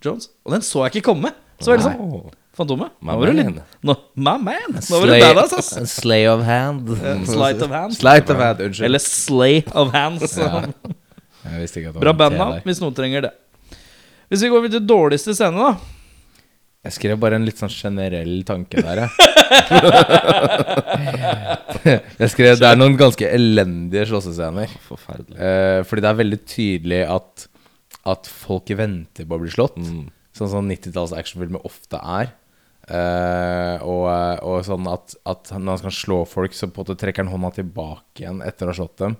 Speaker 1: Jones. Og den så jeg ikke komme! Så var det sånn
Speaker 4: Wow.
Speaker 1: Fantomet.
Speaker 4: My
Speaker 1: Nå var du litt
Speaker 4: man.
Speaker 1: Nå, My man! Nå var du
Speaker 4: Slay-
Speaker 1: badass, ass!
Speaker 5: Slay of hand.
Speaker 1: Eh, Sleight of hand.
Speaker 4: Sleight of hand. Unnskyld.
Speaker 1: Eller slay of hands.
Speaker 4: Ja. Jeg visste ikke at det
Speaker 1: Bra
Speaker 4: var en T
Speaker 1: bandnavn
Speaker 4: der.
Speaker 1: hvis noen trenger det. Hvis vi går videre til dårligste scene, da.
Speaker 4: Jeg skrev bare en litt sånn generell tanke der, jeg. jeg skrev Det er noen ganske elendige slåssescener.
Speaker 3: Forferdelig.
Speaker 4: Eh, fordi det er veldig tydelig at, at folk venter på å bli slått.
Speaker 3: Mm.
Speaker 4: Sånn som 90-talls actionfilmer ofte er. Eh, og, og sånn at, at når han skal slå folk, så på en måte trekker han hånda tilbake igjen etter å ha slått dem.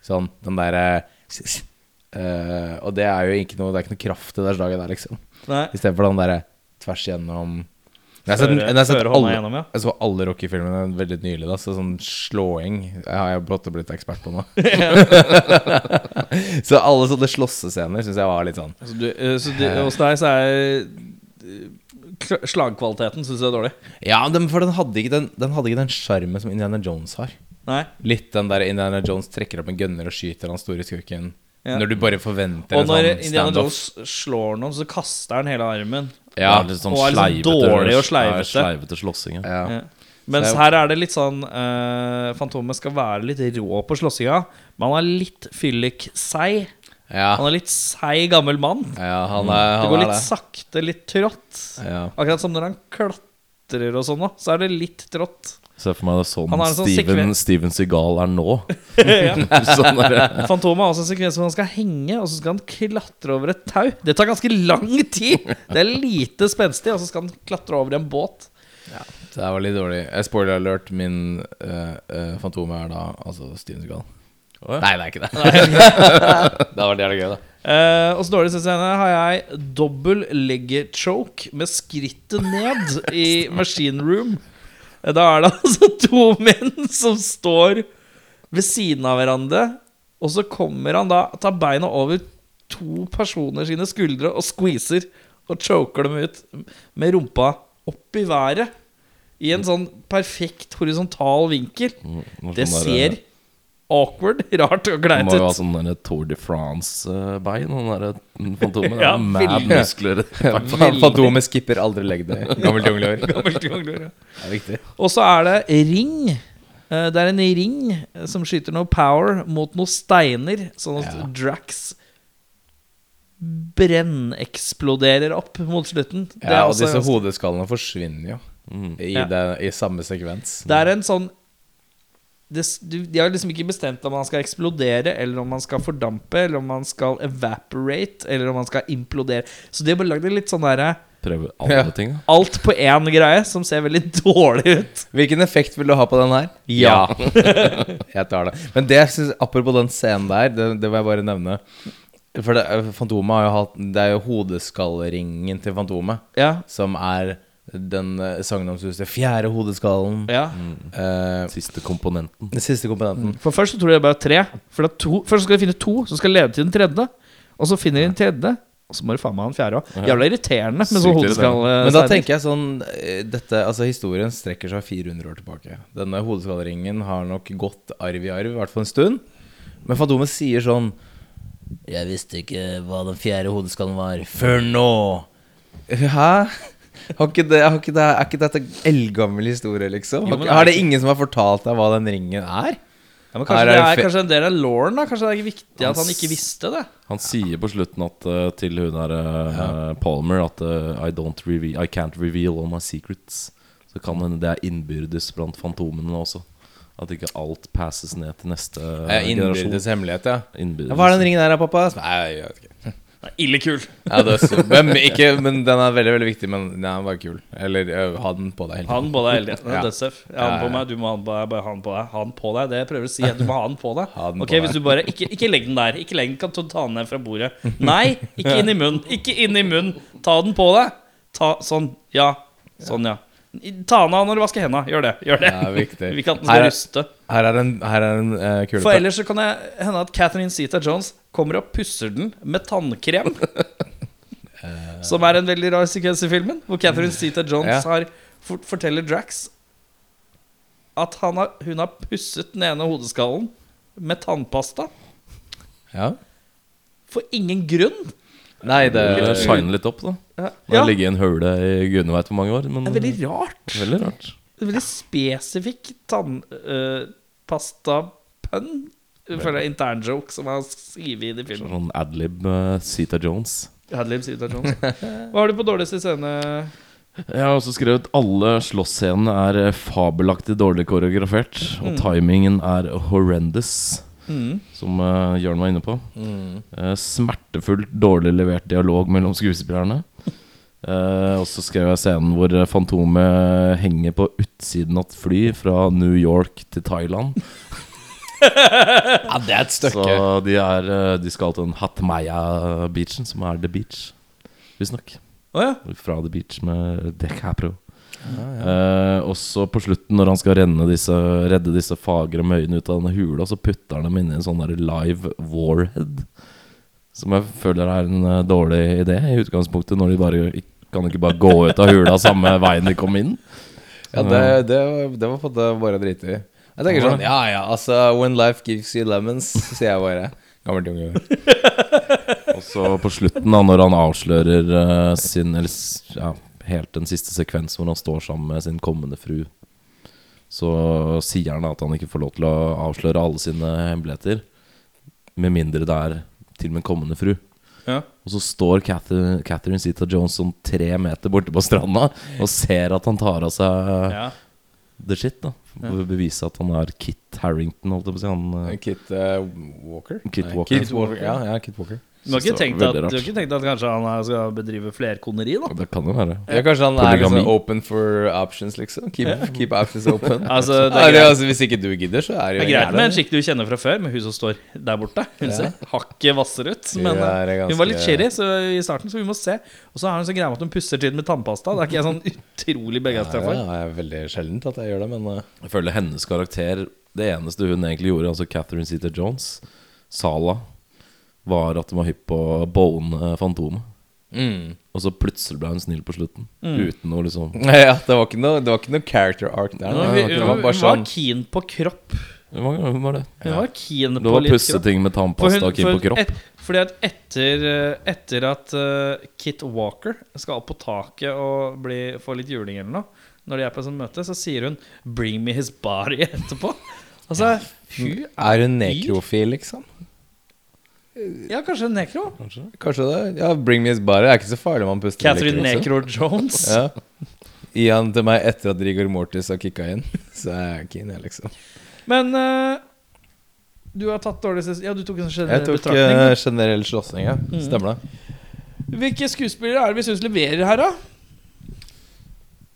Speaker 4: Sånn den derre eh, Og det er jo ikke noe Det er ikke noe kraft i det slaget der, liksom.
Speaker 1: Nei.
Speaker 4: Istedenfor den derre tvers gjennom jeg har sett,
Speaker 1: Føre-
Speaker 4: jeg har sett
Speaker 1: føre hånda
Speaker 4: alle,
Speaker 1: gjennom, ja.
Speaker 4: jeg så alle Rocky-filmene veldig nylig. Da, så sånn slåing har jeg blott blitt ekspert på nå. så alle sånne slåssescener syns jeg var litt sånn
Speaker 1: Altså, du, eh, så du, hos deg så er eh, kl- slagkvaliteten syns jeg er dårlig.
Speaker 4: Ja, den, for den hadde ikke den, den, hadde ikke den sjarmen som Indiana Jones har.
Speaker 1: Nei.
Speaker 4: Litt den der Indiana Jones trekker opp en gunner og skyter han store skurken.
Speaker 1: Ja.
Speaker 4: Når du bare forventer
Speaker 1: Og
Speaker 4: en
Speaker 1: når
Speaker 4: sånn
Speaker 1: Indiana
Speaker 4: standoff.
Speaker 1: Jones slår noen, så kaster han hele armen.
Speaker 4: Ja,
Speaker 3: Det er litt sånn
Speaker 1: og er litt sånn
Speaker 3: sleivete-
Speaker 1: dårlig og
Speaker 3: ja,
Speaker 1: sleivete.
Speaker 3: sleivete slåssing. Ja.
Speaker 4: ja.
Speaker 1: Ja. Eh, Mens
Speaker 4: Så jeg-
Speaker 1: her er det litt sånn eh, Fantomet skal være litt rå på slåssinga, men han er litt fyllik-seig.
Speaker 4: Ja.
Speaker 1: Han er litt seig gammel mann.
Speaker 4: ja, han er,
Speaker 1: Det
Speaker 4: han
Speaker 1: går
Speaker 4: er
Speaker 1: litt sakte, litt trått.
Speaker 4: Ja.
Speaker 1: Akkurat som når han klatrer og sånn, da, så er det litt trått.
Speaker 3: Se for meg det er sånn,
Speaker 1: Han har en sånn
Speaker 3: Steven,
Speaker 1: sikre-
Speaker 3: Steven Seagal er nå.
Speaker 1: ja.
Speaker 3: sånn der,
Speaker 1: Fantomet har også en sekvens hvor han skal henge, og så skal han klatre over et tau. Det tar ganske lang tid! Det er lite spenstig, og så skal han klatre over en båt.
Speaker 4: Det her var litt dårlig. Eh, Spoiler alert, min uh, Fantomet er da altså Steven Seagal. Nei, det er ikke det. da var det jævlig gøy, da.
Speaker 1: Eh, og så dårlig siste scene har jeg dobbel legger-choke med skrittet ned i machine room. Eh, Da er det altså to menn som står ved siden av hverandre, og så kommer han da, tar beina over to personer sine skuldre og squeezer og choker dem ut med rumpa opp i været. I en sånn perfekt horisontal vinkel.
Speaker 3: noe
Speaker 1: Det
Speaker 3: sånn der,
Speaker 1: ser awkward, rart og
Speaker 3: Han
Speaker 1: gleit
Speaker 3: må jo ha
Speaker 1: ut.
Speaker 3: sånn der Tour de France-bein, han derre fantomet.
Speaker 1: Ja,
Speaker 3: ja, mad
Speaker 1: veldig.
Speaker 3: muskler.
Speaker 1: Veldig.
Speaker 4: Fantomet skipper aldri legg day. Gammelt jungelår. Det
Speaker 1: Gammelt kongler, ja.
Speaker 4: er viktig.
Speaker 1: Og så er det ring. Eh, Det er en ring eh, som skyter noe power mot noen steiner, sånn at
Speaker 4: Ja.
Speaker 1: Drax brenneksploderer opp mot slutten. Det er,
Speaker 4: Ja, og
Speaker 1: også,
Speaker 4: disse hodeskallene forsvinner jo
Speaker 3: Mm,
Speaker 4: i,
Speaker 1: Ja.
Speaker 4: det, i samme sekvens.
Speaker 1: det er en sånn det, s- du, De har liksom ikke bestemt om han skal eksplodere, eller om han skal fordampe, eller om han skal evaporate, eller om han skal implodere. Så de har bare lagd en litt sånn derre
Speaker 3: Prøver alle
Speaker 4: Ja.
Speaker 3: ting, da.
Speaker 1: Alt på én greie, som ser veldig dårlig ut.
Speaker 4: Hvilken effekt vil du ha på den her?
Speaker 1: Ja.
Speaker 4: jeg tar det. Men det jeg synes, apropos den scenen der, det, det må jeg bare nevne. For eh, det, Fantomet har jo hatt Det er jo hodeskallringen til Fantomet
Speaker 1: Ja.
Speaker 4: som er den eh, sagnomsuste fjerde hodeskallen.
Speaker 1: Ja.
Speaker 4: Eh,
Speaker 3: Siste komponenten.
Speaker 4: den siste komponenten.
Speaker 1: Mm. For først så tror jeg det er bare tre. For det er to. Først skal de finne to som skal lede til den tredje. Og så finner de den tredje, og så må de faen meg ha den fjerde òg. Jævla irriterende med sånn
Speaker 3: Sykt
Speaker 1: hodeskall. eh,
Speaker 4: Men da
Speaker 1: steiner.
Speaker 4: tenker jeg sånn eh, dette, altså Historien strekker seg 400 år tilbake. Denne hodeskalleringen har nok gått arv i arv, i hvert fall en stund. Men Fantomet sier sånn
Speaker 5: Jeg visste ikke hva den fjerde hodeskallen var.
Speaker 4: Før nå! Hæ? Har ikke det, har ikke det, er ikke dette eldgammel historie, liksom? Har,
Speaker 1: men
Speaker 4: ikke- har det ingen som har fortalt deg hva den ringen er?
Speaker 1: ja, men
Speaker 4: Her
Speaker 1: kanskje,
Speaker 4: er
Speaker 1: det
Speaker 4: det
Speaker 1: er,
Speaker 4: fe-
Speaker 1: kanskje en del av lauren, da. Kanskje det er ikke viktig at han
Speaker 3: s-
Speaker 1: ikke visste det.
Speaker 3: Han sier på slutten at, eh, til hun her eh, Palmer at eh, I, don't reve- I can't reveal all my secrets. Så kan hende det er innbyrdes blant fantomene også. At ikke alt passes ned til neste
Speaker 4: Eh,
Speaker 3: eh,
Speaker 4: Innbyrdes hemmelighet, ja.
Speaker 3: Innbyrdes.
Speaker 4: Ja, Hva er den ringen her, da, pappa? Nei, jeg vet ikke.
Speaker 1: Det er ille kul.
Speaker 4: Ja, det er så, men, ikke, men den er veldig, veldig viktig. Men den er bare kul. Eller ø, ha den på deg hele
Speaker 1: Han på deg hele tiden.
Speaker 4: Ja.
Speaker 1: Dødsef. Jeg har den på meg, du må ha den på deg. Bare ha den på deg. Ha den på deg. Det jeg prøver å si, er at du må ha den på deg.
Speaker 4: Ha den på
Speaker 1: Ok,
Speaker 4: deg.
Speaker 1: hvis du bare Ikke, ikke legg den der. Ikke legg den, kan du ta den ned fra bordet. Nei, ikke inn i munnen. Ikke inn i munnen. Ta den på deg. Ta Sånn. Ja. Sånn, ja. Ta den av når du vasker hendene. Gjør det. Gjør det.
Speaker 4: Ja, viktig.
Speaker 1: Vi kan den
Speaker 4: Her
Speaker 1: skal
Speaker 4: er-
Speaker 1: ruste.
Speaker 4: Her er en, her er en eh, kule.
Speaker 1: For ellers så kan det hende at Catherine Zeta Jones kommer og pusser den med tannkrem. som er en veldig rar sekvens i filmen, hvor Catherine Zeta Jones
Speaker 4: Ja.
Speaker 1: har, fort- forteller Drax at han har, hun har pusset den ene hodeskallen med tannpasta.
Speaker 4: Ja.
Speaker 1: For ingen grunn.
Speaker 4: Nei, det
Speaker 3: Det shiner litt opp, da.
Speaker 1: Ja,
Speaker 3: Den har
Speaker 1: det
Speaker 3: ligget i en høle i gudene veit hvor mange år. Men
Speaker 1: er veldig rart.
Speaker 3: veldig rart.
Speaker 1: Det er Veldig spesifikk tannpastapønn. Uh, Føler jeg internjoke som er skrevet inn i filmen.
Speaker 3: Sånn adlib uh, Zeta Jones.
Speaker 1: Hadlib Zeta Jones. Hva har du på dårligste scene?
Speaker 3: Jeg har også skrevet alle slåssscenene er eh, fabelaktig dårlig koreografert. Og
Speaker 4: Mm.
Speaker 3: timingen er horrendous, som uh, Jørn var inne på.
Speaker 4: Mm.
Speaker 3: Eh, smertefullt dårlig levert dialog mellom skuespillerne. Eh, og så skrev jeg scenen hvor eh, Fantomet henger på utsiden av et fly fra New York til Thailand.
Speaker 4: Ja, det er et
Speaker 3: Så
Speaker 4: stykke.
Speaker 3: de, er, eh, de skal til den Hatmaya-beachen, som er The Beach, visstnok.
Speaker 1: Å ja.
Speaker 3: Fra The Beach med DiCaprio. Eh, og så på slutten, når han skal renne disse, redde disse fagre møyene ut av denne hula, så putter han dem inn i en sånn der live warhead. Som jeg føler er en eh, dårlig idé i utgangspunktet, når de bare kan ikke bare gå ut av hula samme veien de kom inn.
Speaker 4: Ja, det, det, var- det var på en måte bare å drite i. Jeg tenker sånn Ja ja, altså When life gives you lemons, sier jeg bare. Gammelt unge.
Speaker 3: Og så på slutten, da, når han avslører eh, sin Eller s- ja, helt den siste sekvens hvor han står sammen med sin kommende fru, så sier han da at han ikke får lov til å avsløre alle sine hemmeligheter. Med mindre det er til min kommende fru.
Speaker 1: Ja.
Speaker 3: Og så står Catherine, Catherine Zeta Jones sånn tre meter borte på stranda og ser at han tar av seg
Speaker 1: ja.
Speaker 3: the shit. da For å bevise at han er Kit Harrington, holdt jeg på å si. Han, eh,
Speaker 4: Kit eh, Walker?
Speaker 3: Kit
Speaker 4: Nei,
Speaker 3: Walker.
Speaker 4: Kit Walker. Ja, ja, Kit Walker.
Speaker 1: Du har,
Speaker 3: synes
Speaker 1: ikke
Speaker 3: det var
Speaker 1: tenkt at,
Speaker 3: veldig
Speaker 1: du
Speaker 3: rart.
Speaker 1: har ikke tenkt at kanskje han her skal bedrive flerkoneri, da?
Speaker 3: det kan jo være.
Speaker 4: Ja, kanskje han er liksom
Speaker 3: Polygami.
Speaker 4: open for options, liksom. Keep, keep options open.
Speaker 1: Altså, det er
Speaker 4: Eller,
Speaker 1: greit.
Speaker 4: altså, hvis ikke du gidder, så
Speaker 1: Det
Speaker 4: er det jo
Speaker 1: er greit
Speaker 4: jævla-
Speaker 1: med en skikk du kjenner fra før, med hun som står der borte. Hun ser hakket hvassere ut, men
Speaker 4: Hun er
Speaker 1: eh, hun var litt
Speaker 4: ganske-
Speaker 1: shitty så i starten, så vi må se. Og så har hun så greie med at hun pusser til med tannpasta. Det er ikke jeg sånn utrolig begeistra
Speaker 4: Ja,
Speaker 1: for.
Speaker 4: det er veldig sjeldent at jeg gjør det, men eh,
Speaker 3: Jeg føler hennes karakter Det eneste hun egentlig gjorde, altså Catherine Zeta Jones, Sala, var at hun var hypp på å bone Fantomet.
Speaker 4: eh. Mm.
Speaker 3: Og så plutselig ble hun snill på slutten.
Speaker 1: Mm.
Speaker 3: Uten noe liksom
Speaker 4: Nei, ja, det, var ikke noe, det var ikke noe character arc der.
Speaker 1: Hun,
Speaker 4: nei.
Speaker 1: hun,
Speaker 4: det var
Speaker 1: hun,
Speaker 4: bare
Speaker 1: var
Speaker 4: sånn
Speaker 1: keen på kropp.
Speaker 3: Hun var, hun var det.
Speaker 1: Hun var keen
Speaker 3: Det
Speaker 1: på
Speaker 3: var
Speaker 1: litt kropp.
Speaker 3: pusseting med
Speaker 1: For
Speaker 3: tannpasta
Speaker 1: hun-
Speaker 3: og kim på
Speaker 1: for
Speaker 3: kropp.
Speaker 1: et- fordi at etter, eh, etter at eh, Kit Walker skal opp på taket og bli, få litt juling eller noe, når de er på et sånt møte, så sier hun 'bring me his body' etterpå. Altså, hun
Speaker 4: Er hun nekrofil, liksom?
Speaker 1: Ja, kanskje en nekro?
Speaker 4: Kanskje det? Ja, Bring Me His Body er ikke så farlig om han puster
Speaker 1: Catherine
Speaker 4: nekro,
Speaker 1: Necro Jones.
Speaker 4: liksom. Ja. Gi han til meg etter at Rigor Mortis har kicka inn, så er jeg keen, jeg, liksom.
Speaker 1: Men eh, du har tatt dårlig ses- Ja, du tok en generell
Speaker 4: Jeg tok
Speaker 1: betraktning.
Speaker 4: eh, generell slåssing, ja. Mm. Stemmer det.
Speaker 1: Hvilke skuespillere er det vi syns leverer her, da?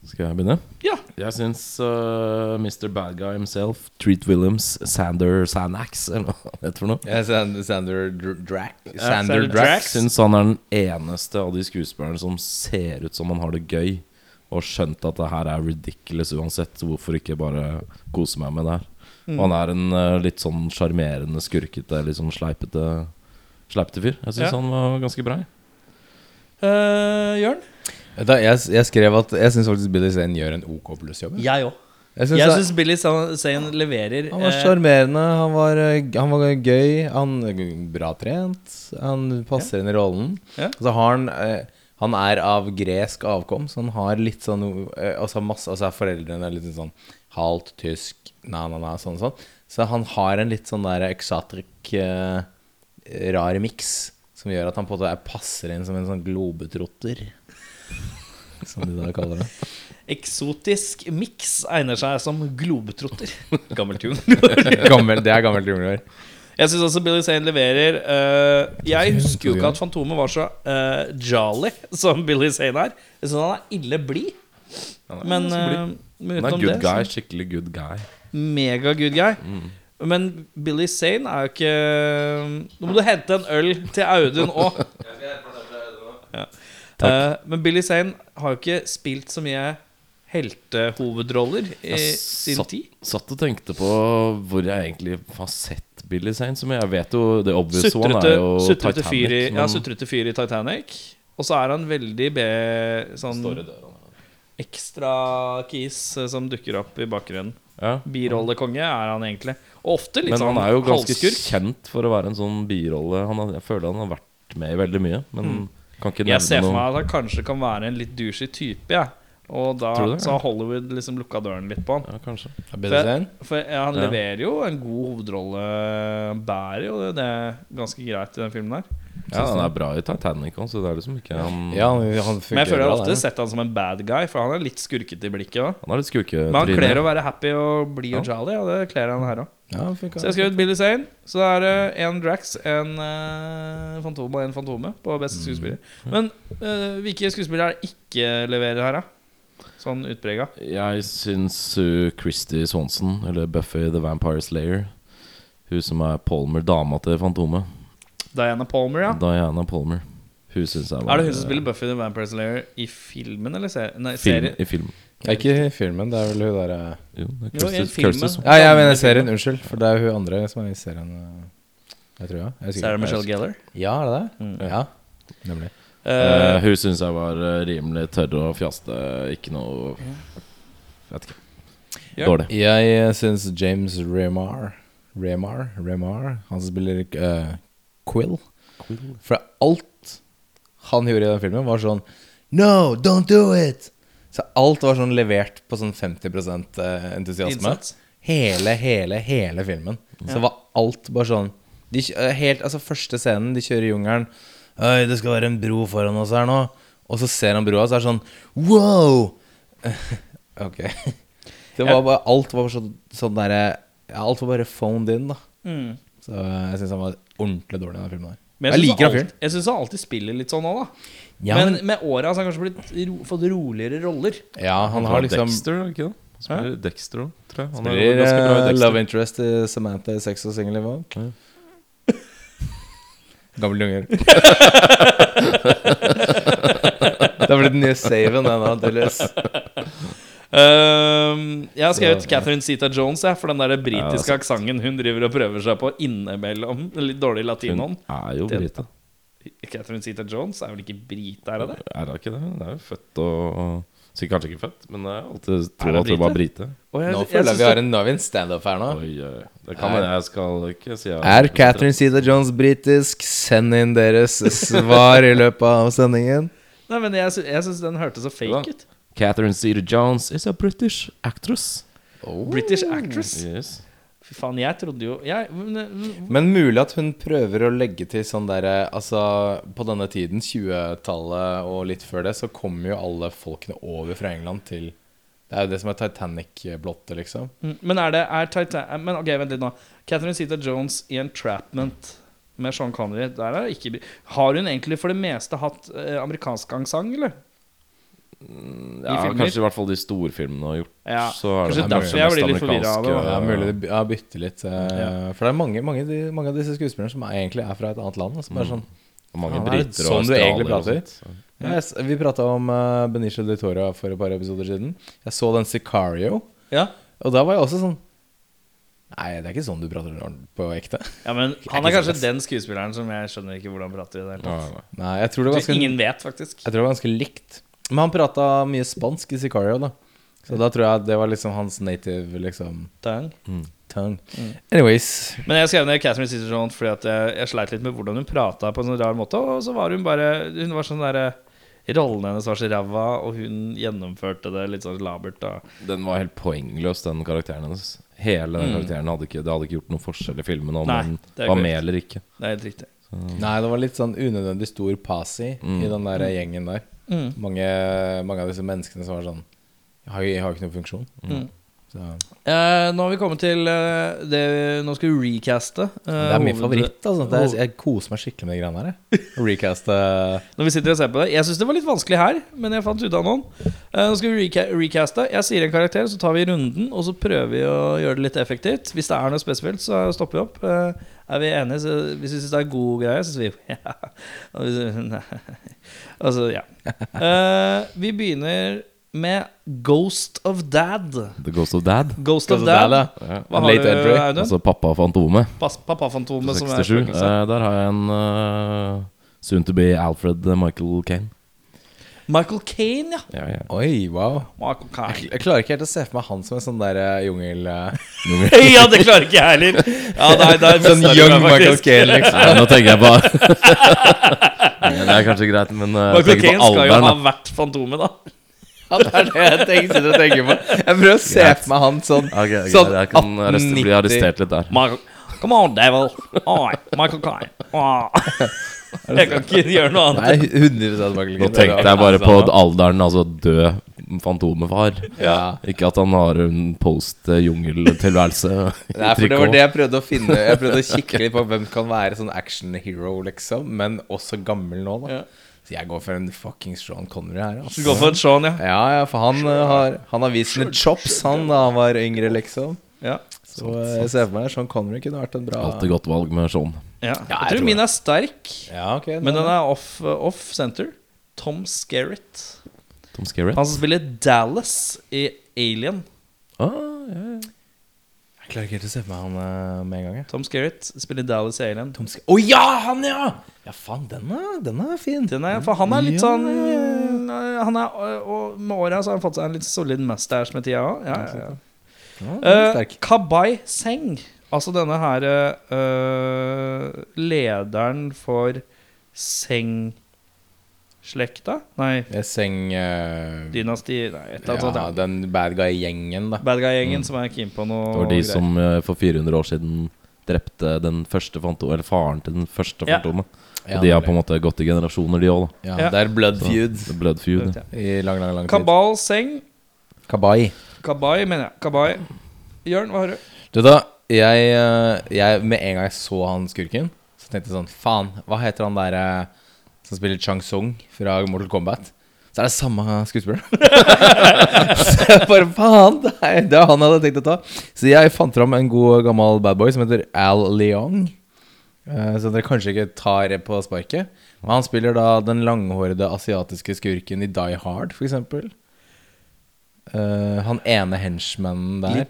Speaker 3: Skal jeg begynne?
Speaker 1: Ja.
Speaker 3: Jeg syns uh, Mr. Bad Guy himself, Treat Williams, Sander Sanax, eller hva det heter for noe.
Speaker 4: Ja, Sand- Sander Dr- Drack.
Speaker 1: Sander
Speaker 4: Sander
Speaker 1: Drack.
Speaker 4: Drack.
Speaker 3: Syns han er den eneste av de skuespillerne som ser ut som han har det gøy. og skjønt at det her er ridiculous uansett, så hvorfor ikke bare kose meg med det her.
Speaker 1: Mm.
Speaker 3: Og han er en eh, litt sånn sjarmerende, skurkete, litt sånn sleipete, sleipete fyr. Jeg syns
Speaker 1: Ja.
Speaker 3: han var ganske bra. jeg.
Speaker 1: Eh, Jørn?
Speaker 4: Vet du hva, Jeg, jeg skrev at jeg syns faktisk Billy Zane gjør en OK plussjobb. jeg.
Speaker 1: Jeg òg.
Speaker 4: Jeg synes
Speaker 1: Jeg
Speaker 4: det-
Speaker 1: syns Billy Sa- Zane leverer.
Speaker 4: han var
Speaker 1: eh,
Speaker 4: sjarmerende, han, var, eh, han var gøy, han bra trent, han passer inn i rollen.
Speaker 1: Ja.
Speaker 4: Og Så har han eh, Han er av gresk avkom, så han har litt sånn eh, Altså, masse, altså er foreldrene litt sånn halvt tysk, na, na, na, sånn sånn. Så han har en litt sånn der eksatrik, eh, rar miks som gjør at han på en måte er- passer inn som en sånn globetrotter. Som de da kaller det.
Speaker 1: Eksotisk mix egner seg som globetrotter. Gammel tune.
Speaker 4: Gammel, det er gammelt junior.
Speaker 1: Jeg syns også Billy Zane leverer. eh, jeg husker jo ikke at Fantomet var så eh, jolly som Billy Zane er. Jeg syns han er ille blid. Men uh,
Speaker 3: Han er
Speaker 1: utenom
Speaker 3: good
Speaker 1: det
Speaker 3: guy, skikkelig good guy.
Speaker 1: Mega good guy. Men Billy Zane er jo ikke eh, Nå må du hente en øl til Audun òg. ja. Eh, men Billy Zane har jo ikke spilt så mye heltehovedroller i
Speaker 3: Jeg
Speaker 1: sin
Speaker 3: satt,
Speaker 1: tid.
Speaker 3: satt og tenkte på hvor jeg egentlig har sett Billy Zane. Som jeg vet jo The obvious one
Speaker 1: Sutrete,
Speaker 3: er jo
Speaker 1: sutrete,
Speaker 3: Titanic.
Speaker 1: fyr i,
Speaker 3: men-
Speaker 1: ja, sutrete fyr i Titanic. Og så er han veldig be, sånn ekstra kis eh, som dukker opp i bakgrunnen.
Speaker 3: ja.
Speaker 1: Birollekonge er han egentlig. Og ofte litt
Speaker 3: Men
Speaker 1: sånn
Speaker 3: han er jo ganske
Speaker 1: halvskurk.
Speaker 3: kjent for å være en sånn birolle. Han har, jeg føler han har vært med i veldig mye, men kan ikke
Speaker 1: Mm. Jeg ser
Speaker 3: nevne
Speaker 1: for meg
Speaker 3: noe.
Speaker 1: at han kanskje kan være en litt douchey type. jeg. Og da
Speaker 3: Tror du det?
Speaker 1: så har Hollywood liksom lukka døren litt på han.
Speaker 3: Ja, kanskje.
Speaker 4: Billy Zane?
Speaker 1: For ja, Han
Speaker 3: Ja.
Speaker 1: leverer jo en god hovedrolle. Han Bærer jo det, det er ganske greit i den filmen der.
Speaker 3: Ja, han er bra i Titanic òg, så det er liksom ikke han
Speaker 4: Ja, han, han
Speaker 1: Men jeg
Speaker 4: fungerer
Speaker 1: føler jeg har
Speaker 4: bra,
Speaker 1: ofte
Speaker 4: det.
Speaker 1: sett han som en bad guy, for han er litt skurkete i blikket. Da.
Speaker 3: Han har litt
Speaker 1: Men han kler å
Speaker 3: skurketryne.
Speaker 1: være happy og blid og jolly, og det kler han her òg.
Speaker 4: Ja, han fungerer.
Speaker 1: Så jeg skrev ut Billy Zane. Så da er det én Drax, én uh, Fantom og én Fantome på beste
Speaker 4: Mm.
Speaker 1: skuespiller. Men eh, hvilke skuespillere er det ikke leverer her, da? Sånn utprega.
Speaker 3: Jeg syns uh, Christy Swanson, eller Buffy the Vampire Slayer, hun som er Palmer, dama til Fantomet,
Speaker 1: Diana Palmer, ja.
Speaker 3: Diana Palmer, hun syns jeg var
Speaker 1: Er det hun som spiller Buffy the Vampire Slayer i filmen eller serien? Nei,
Speaker 3: film,
Speaker 1: serien.
Speaker 3: i film?
Speaker 4: Det er ikke i filmen, det er vel hun eh. derre
Speaker 3: Jo, det er
Speaker 1: Jo, i
Speaker 3: Kirsty-
Speaker 1: filmen.
Speaker 3: Kirsty Swanson.
Speaker 4: Ja, jeg mener serien, unnskyld. For det er hun andre som er i serien. øh, Jeg tror, ja. Jeg er sikker.
Speaker 1: Sarah Michelle Gellar. Mm.
Speaker 4: Ja, er det det? Ja. Nemlig.
Speaker 1: Eh,
Speaker 3: Eh, hun syns jeg var eh, rimelig tørr og fjaste. Ikke noe Vet ikke.
Speaker 1: Ja.
Speaker 3: Dårlig.
Speaker 4: Jeg syns James Remar Remar, Remar Han som spiller øh, Quill. For alt han gjorde i den filmen, var sånn No, don't do it! Så alt var sånn levert på sånn 50 øh, entusiasme.
Speaker 1: Innsats.
Speaker 4: Hele, hele, hele filmen. Så var alt bare sånn de, kj- eh, helt, altså Første scenen, de kjører i jungelen. Oi, det skal være en bro foran oss her nå. Og så ser han broa, så er det sånn Wow! ok. Det var bare, alt var bare sånn, sånn derre ja, Alt var bare phoned in, da.
Speaker 1: Mm.
Speaker 4: Så eh, jeg syns han var ordentlig dårlig i den filmen.
Speaker 1: Men
Speaker 4: der Jeg
Speaker 1: synes
Speaker 4: liker han
Speaker 1: alt-
Speaker 4: fyren.
Speaker 1: Jeg syns han alltid spiller litt sånn òg, da.
Speaker 4: Ja,
Speaker 1: men,
Speaker 4: men,
Speaker 1: med åra har han kanskje blitt ro, fått roligere roller.
Speaker 4: ja, han har liksom
Speaker 3: Dexter, er det ikke det? Han Spiller Dexter òg, tror jeg. Han er
Speaker 4: Blir
Speaker 3: ganske bra i
Speaker 4: eh,
Speaker 3: Dexter.
Speaker 4: love interest i Samantha i sex og single Evolved.
Speaker 3: Ja.
Speaker 4: Gamle unger. det har blitt den nye saven, den da, tydeligvis.
Speaker 1: Ehm, jeg har skrevet
Speaker 4: Så-
Speaker 1: Catherine Zeta Jones jeg, for den der britiske
Speaker 3: Ja,
Speaker 1: aksenten hun driver og prøver seg på innimellom. Litt dårlig latinoen.
Speaker 3: Hun er jo
Speaker 1: Den-
Speaker 3: brite.
Speaker 1: Catherine Zeta Jones er vel ikke brite, er hun det?
Speaker 3: Er hun ikke det? Hun er jo født og og- Sikkert kanskje ikke født, men jeg har alltid
Speaker 1: hun
Speaker 3: trodd at hun var brite.
Speaker 1: Og jeg-
Speaker 4: Nå
Speaker 1: jeg
Speaker 4: føler
Speaker 1: synes
Speaker 4: jeg vi har en, nå har vi en standup her nå.
Speaker 3: Oi, oi. Det kan hende jeg skal ikke si jeg
Speaker 4: Er Catherine Zeta Jones britisk? Send inn deres svar i løpet av sendingen.
Speaker 1: det- Nei, men jeg, sy- jeg syns den hørtes så fake
Speaker 3: Ja.
Speaker 1: ut.
Speaker 3: Catherine Zeta-Jones is a British actress.
Speaker 1: British actress.
Speaker 3: Yes.
Speaker 1: Fy faen, jeg trodde jo jeg, men- eh, mm,
Speaker 4: Men mulig at hun prøver å legge til sånn derre Altså, på denne tiden, 20-tallet og litt før det, så kommer jo alle folkene over fra England til Det er jo det som er Titanic-blottet, liksom.
Speaker 1: Men er det er Titan Men ok, vent litt nå. Catherine Zeta Jones i Entrapment med Sean Connery der er det ikke, Har hun egentlig for det meste hatt eh, amerikansk angsang, eller?
Speaker 3: Ja,
Speaker 1: filmer.
Speaker 3: kanskje i hvert fall de storfilmene har gjort.
Speaker 1: Ja,
Speaker 3: så er
Speaker 1: kanskje
Speaker 3: det
Speaker 1: derfor jeg blir litt forvirret av det, da.
Speaker 4: Ja, mulig de by- ja, bytter litt. eh, For det er mange, mange, de, mange av disse skuespillerne som er, egentlig er fra et annet land. og Som er sånn
Speaker 3: Og mange
Speaker 4: Ja, det er
Speaker 3: briter og
Speaker 4: sånn du egentlig
Speaker 3: australiere og
Speaker 4: prater.
Speaker 3: sånt.
Speaker 4: Ja, jeg s- vi prata om eh, Benicio del Toro for et par episoder siden. Jeg så den Sicario,
Speaker 1: Ja.
Speaker 4: og da var jeg også sånn Nei, det er ikke sånn du prater om på ekte.
Speaker 1: ja, men han er kanskje den skuespilleren som jeg skjønner ikke hvordan prater i det hele tatt.
Speaker 4: Nei, jeg tror det var
Speaker 1: Så
Speaker 4: ganske
Speaker 1: ingen vet, faktisk.
Speaker 4: Jeg tror det var ganske likt. Men han prata mye spansk i Sicario, da. Så da tror jeg det var liksom hans native liksom
Speaker 1: Dang.
Speaker 4: tongue.
Speaker 1: Mm.
Speaker 4: Anyways.
Speaker 1: Men jeg skrev ned Catherine Cicero fordi at jeg, jeg sleit litt med hvordan hun prata på en sånn rar måte. Og så var hun bare Hun var sånn derre Rollen hennes var så ræva, og hun gjennomførte det litt sånn labert. Da.
Speaker 3: Den var helt poengløs, den karakteren hennes. Hele den karakteren hadde ikke, Det hadde ikke gjort noen forskjell i filmen
Speaker 1: Mm.
Speaker 3: om
Speaker 1: Nei,
Speaker 3: den
Speaker 1: det er
Speaker 3: var
Speaker 1: korrekt.
Speaker 3: med eller ikke.
Speaker 1: Det er helt riktig.
Speaker 4: Nei, det var litt sånn unødvendig stor pasi i den der
Speaker 1: Mm.
Speaker 4: gjengen der. Mange, mange av disse menneskene som var sånn Jeg har jo jeg har jo ikke noen funksjon.
Speaker 1: Mm.
Speaker 4: Så,
Speaker 1: Eh, nå har vi kommet til eh, det Nå skal vi recaste. eh, oh.
Speaker 4: det er min
Speaker 1: hoved-
Speaker 4: favoritt. Altså. Det er, jeg koser meg skikkelig med de greiene her. jeg. eh, Recaste
Speaker 1: Når vi sitter og ser på det Jeg syns det var litt vanskelig her, men jeg fant ut av noen. Eh, nå skal vi reca recaste. Jeg sier en karakter, så tar vi runden, og så prøver vi å gjøre det litt effektivt. Hvis det er noe spesifikt, så stopper vi opp. Eh, er vi enige, så hvis vi syns det er god greie, så sier vi ja. Og hvis, nei. Altså, ja. Eh, vi begynner med Ghost of Dad.
Speaker 3: The Ghost of Dad.
Speaker 1: Ghost of
Speaker 4: Ghost of
Speaker 1: Dad.
Speaker 4: Dad,
Speaker 3: ja.
Speaker 1: Hva har
Speaker 4: Late
Speaker 1: du,
Speaker 4: entry.
Speaker 1: Audun?
Speaker 3: Altså Pappa og Fantomet.
Speaker 1: Pass- Pappafantomet som er
Speaker 3: 67.
Speaker 1: spøkelse.
Speaker 3: Eh, der har jeg en eh, soon to be Alfred eh, Michael Kane.
Speaker 1: Michael Kane, ja.
Speaker 3: Ja, ja.
Speaker 4: Oi, wow.
Speaker 1: Michael Caine.
Speaker 4: Jeg klarer ikke helt å se for meg han som en sånn der eh, jungel... eh,
Speaker 1: ja, det klarer ikke jeg heller. Ja, nei, det er
Speaker 4: Sånn
Speaker 1: mest
Speaker 4: young
Speaker 1: arrogant,
Speaker 4: Michael
Speaker 1: faktisk.
Speaker 4: Caine, liksom.
Speaker 3: Nei, Eh, nå tenker jeg på Nei, Det er kanskje greit, men eh, jeg
Speaker 1: Michael
Speaker 3: tenker
Speaker 1: Kane
Speaker 3: på
Speaker 1: skal jo
Speaker 3: alderen.
Speaker 1: ha
Speaker 3: da.
Speaker 1: vært Fantomet, da.
Speaker 4: Ja, det er det jeg tenker, sitter og tenker på. Jeg prøver å se
Speaker 3: Greit.
Speaker 4: for meg han sånn
Speaker 3: Ok, ok,
Speaker 4: Sånn
Speaker 3: jeg kan arrest, bli
Speaker 4: 1890.
Speaker 3: arrestert litt der.
Speaker 1: Michael, come on, devil. Oi, Michael Caine. Oi. Jeg kan ikke gjøre noe annet.
Speaker 4: Nei, 100 Michael
Speaker 3: Nå tenkte jeg bare på alderen, altså død Fantomet-far.
Speaker 4: ja.
Speaker 3: Ikke at han har en post-jungeltilværelse i
Speaker 4: Nei, for det var
Speaker 3: trikot.
Speaker 4: det jeg prøvde å finne. Jeg prøvde å kikke litt på hvem kan være sånn action hero, liksom, men også gammel nå, da.
Speaker 1: Ja.
Speaker 4: Så jeg går for en fucking Sean Connery her,
Speaker 1: Du
Speaker 4: altså.
Speaker 1: går for en Sean, ja.
Speaker 4: Ja, ja, for han eh, har, han har vist sine chops, han, da han var yngre, liksom.
Speaker 1: ja.
Speaker 4: Så eh, jeg ser for meg Sean Connery kunne vært en bra
Speaker 3: Alltid godt valg med Sean.
Speaker 1: ja.
Speaker 4: jeg
Speaker 1: Jeg
Speaker 4: tror
Speaker 1: tror min er sterk,
Speaker 4: Ja, ok.
Speaker 1: men den er off, off center. Tom Skerritt.
Speaker 3: Tom Skerritt.
Speaker 1: Han som spiller Dallas i Alien.
Speaker 3: Ah, ja, ja.
Speaker 4: Jeg klarer ikke helt å se for meg han eh, med en gang, jeg.
Speaker 1: Tom Skerritt spiller Dallas i Alien.
Speaker 4: Tom Sk- Å ja, han, ja! Ja, faen, den er, den er fin.
Speaker 1: Den er, for han er litt
Speaker 4: Ja,
Speaker 1: sånn eh, han er, og- Og med åra har han fått seg en litt solid mustache med tida òg. Ja, ja, ja.
Speaker 4: Ja, den er
Speaker 1: Eh,
Speaker 4: sterk.
Speaker 1: Kabai Seng, altså denne her eh, lederen for Seng-slekta Nei,
Speaker 4: Jeg seng... eh,
Speaker 1: dynasti Nei, et eller annet
Speaker 4: ja,
Speaker 1: sånt.
Speaker 4: den bad guy-gjengen, da.
Speaker 1: ja. Bad guy-gjengen som er keen på noe
Speaker 3: Det var de
Speaker 1: greier.
Speaker 3: som eh, for 400 år siden drepte den første fantomet, eller faren til den første
Speaker 1: Ja.
Speaker 3: fantomet.
Speaker 4: Ja,
Speaker 3: Og de har
Speaker 4: nemlig.
Speaker 3: på en måte gått i generasjoner, de òg.
Speaker 4: Ja,
Speaker 1: Ja.
Speaker 4: Det er blood feud
Speaker 3: Blood feud.
Speaker 1: Ja.
Speaker 3: ja.
Speaker 4: i lang, lang, lang tid.
Speaker 1: Kabal Seng
Speaker 4: Kabai.
Speaker 1: Kabai, mener jeg. Kabai. Jørn, hva har du?
Speaker 4: Du da, jeg, eh, jeg Med en gang jeg så han skurken, så tenkte jeg sånn Faen, hva heter han derre som spiller Chang Sung fra Mortal Kombat? Så er det samme skuespiller. så jeg bare faen, det er, det er han jeg hadde tenkt å ta. Så jeg fant fram en god gammel badboy som heter Al Leong. Eh, Så dere kanskje ikke tar det på sparket. Men han spiller da den langhårede asiatiske skurken i Die Hard, for eksempel. Eh, han ene henchmannen der.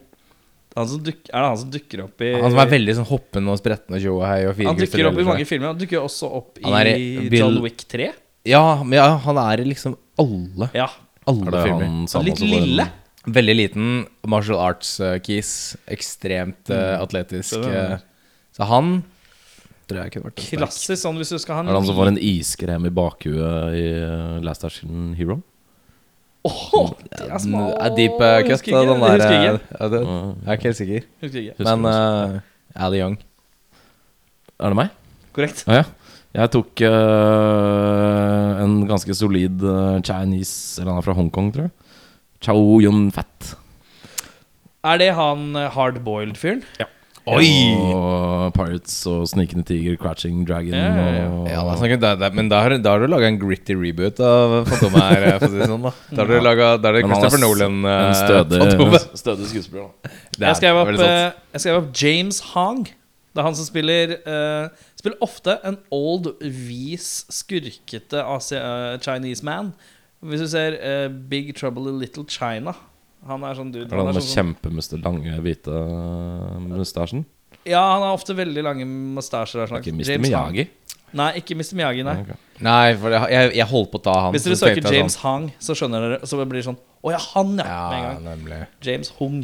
Speaker 1: Han som duk, er det han som dukker opp i
Speaker 4: Han som er veldig sånn hoppende og sprettende og tjo og hei og
Speaker 1: Han
Speaker 4: firkantede
Speaker 1: dukker opp i
Speaker 4: ledere.
Speaker 1: mange filmer. Han dukker jo også opp i,
Speaker 4: Han er i Bill-
Speaker 1: John Wick 3.
Speaker 4: Ja, men ja, han er i liksom alle,
Speaker 1: Ja.
Speaker 3: Er
Speaker 4: alle
Speaker 3: det
Speaker 4: filmer.
Speaker 3: han
Speaker 1: Han er
Speaker 3: samme
Speaker 1: litt
Speaker 3: som var en-
Speaker 1: lille.
Speaker 4: Veldig liten martial arts-keys. Ekstremt eh, atletisk.
Speaker 1: Mm. Det er det.
Speaker 4: eh, så han tror jeg kunne vært en sterk.
Speaker 1: Klassisk sånn hvis du skal ha
Speaker 3: Er det han som
Speaker 1: liten-
Speaker 3: får en iskrem i bakhuet i eh, Last Action Hero?
Speaker 1: Åh, det er
Speaker 4: Den
Speaker 1: små
Speaker 4: er Deep eh, cut,
Speaker 1: Husker ikke,
Speaker 4: da, den der.
Speaker 1: husker
Speaker 4: eh,
Speaker 1: ikke, Mm.
Speaker 4: ja, det, jeg er ikke helt sikker.
Speaker 1: husker ikke. altså.
Speaker 3: Husker
Speaker 4: Men uh, Ali Young.
Speaker 3: Er det meg?
Speaker 1: Korrekt.
Speaker 3: Ja, ja. Jeg tok eh, en ganske solid eh, Chinese Eller han er fra Hongkong, tror jeg. Chow Yun-Fat.
Speaker 1: Er det han eh, hardboiled-fyren? Ja.
Speaker 3: Og Pirates og Snikende Tiger, Cratching Dragon
Speaker 1: Ja, ja, ja.
Speaker 3: og
Speaker 4: Ja, altså, da snakker, da, da, men da har, da har du laga en gritty reboot av Fantomet her. eh, For å si det sånn, da. da har du laget, da er det
Speaker 3: Men han er
Speaker 4: Christopher
Speaker 3: s-
Speaker 4: Nolan. eh,
Speaker 3: En stødig,
Speaker 4: Fantomet.
Speaker 3: stødig skuespiller, da.
Speaker 4: Det er
Speaker 1: Jeg skrev, opp,
Speaker 4: veldig sant.
Speaker 1: eh, jeg skrev opp James Hong. Det er han som spiller eh, Spiller ofte en old, vis, skurkete Asi eh, Chinese man. Hvis du ser eh, Big Trouble in Little China Han er sånn dude.
Speaker 3: Er det
Speaker 1: han er
Speaker 3: han med
Speaker 1: sånn, som-
Speaker 3: kjempemester lange, hvite eh, mustasjen?
Speaker 1: ja, han har ofte veldig lange mustasjer. og
Speaker 3: Er
Speaker 1: slags.
Speaker 3: ikke Mr.
Speaker 1: James Hong.
Speaker 3: Miyagi?
Speaker 1: Nei, ikke Mr. Miyagi. Nei.
Speaker 3: Ok.
Speaker 4: Nei, for det, jeg, jeg holdt på å ta han. sånn.
Speaker 1: Hvis dere
Speaker 4: så tenkte
Speaker 1: søker
Speaker 4: jeg
Speaker 1: James Hong, så skjønner dere Så blir det sånn Å ja, han, ja. Med en
Speaker 4: Ja,
Speaker 1: gang.
Speaker 4: nemlig.
Speaker 1: James Hung.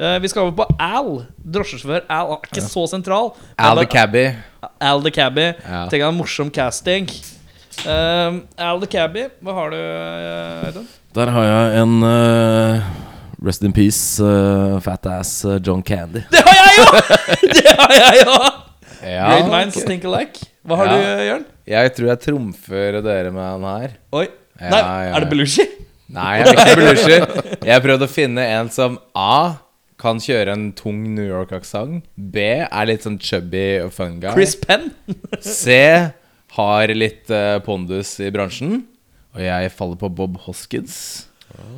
Speaker 1: Eh, vi skal over på Al. Drosjesjåfør Al er ikke så sentral. men
Speaker 4: Al the
Speaker 1: det-
Speaker 4: Cabby.
Speaker 1: Al the Cabby.
Speaker 4: Ja.
Speaker 1: Tenk deg en morsom casting. Eh, Al the Cabby, hva har du, eh, Audun?
Speaker 3: Der har jeg en eh, Rest in peace, eh, fat ass eh, John Candy.
Speaker 1: Det har jeg jo! Det har jeg jo! Great
Speaker 4: Ja,
Speaker 1: minds think alike. Hva har
Speaker 4: Ja.
Speaker 1: du, eh, Jørn?
Speaker 4: jeg tror jeg trumfer dere med han her.
Speaker 1: Oi.
Speaker 4: Ja,
Speaker 1: Nei,
Speaker 4: ja,
Speaker 1: er det
Speaker 4: ja.
Speaker 1: Belushi?
Speaker 4: Nei, jeg vil ikke blushe. Jeg prøvde å finne en som A. Kan kjøre en tung New York-aksent. B. Er litt sånn chubby og fun guy.
Speaker 1: Chris Penn?
Speaker 4: C. Har litt eh, pondus i bransjen. Og jeg faller på Bob Hoskins.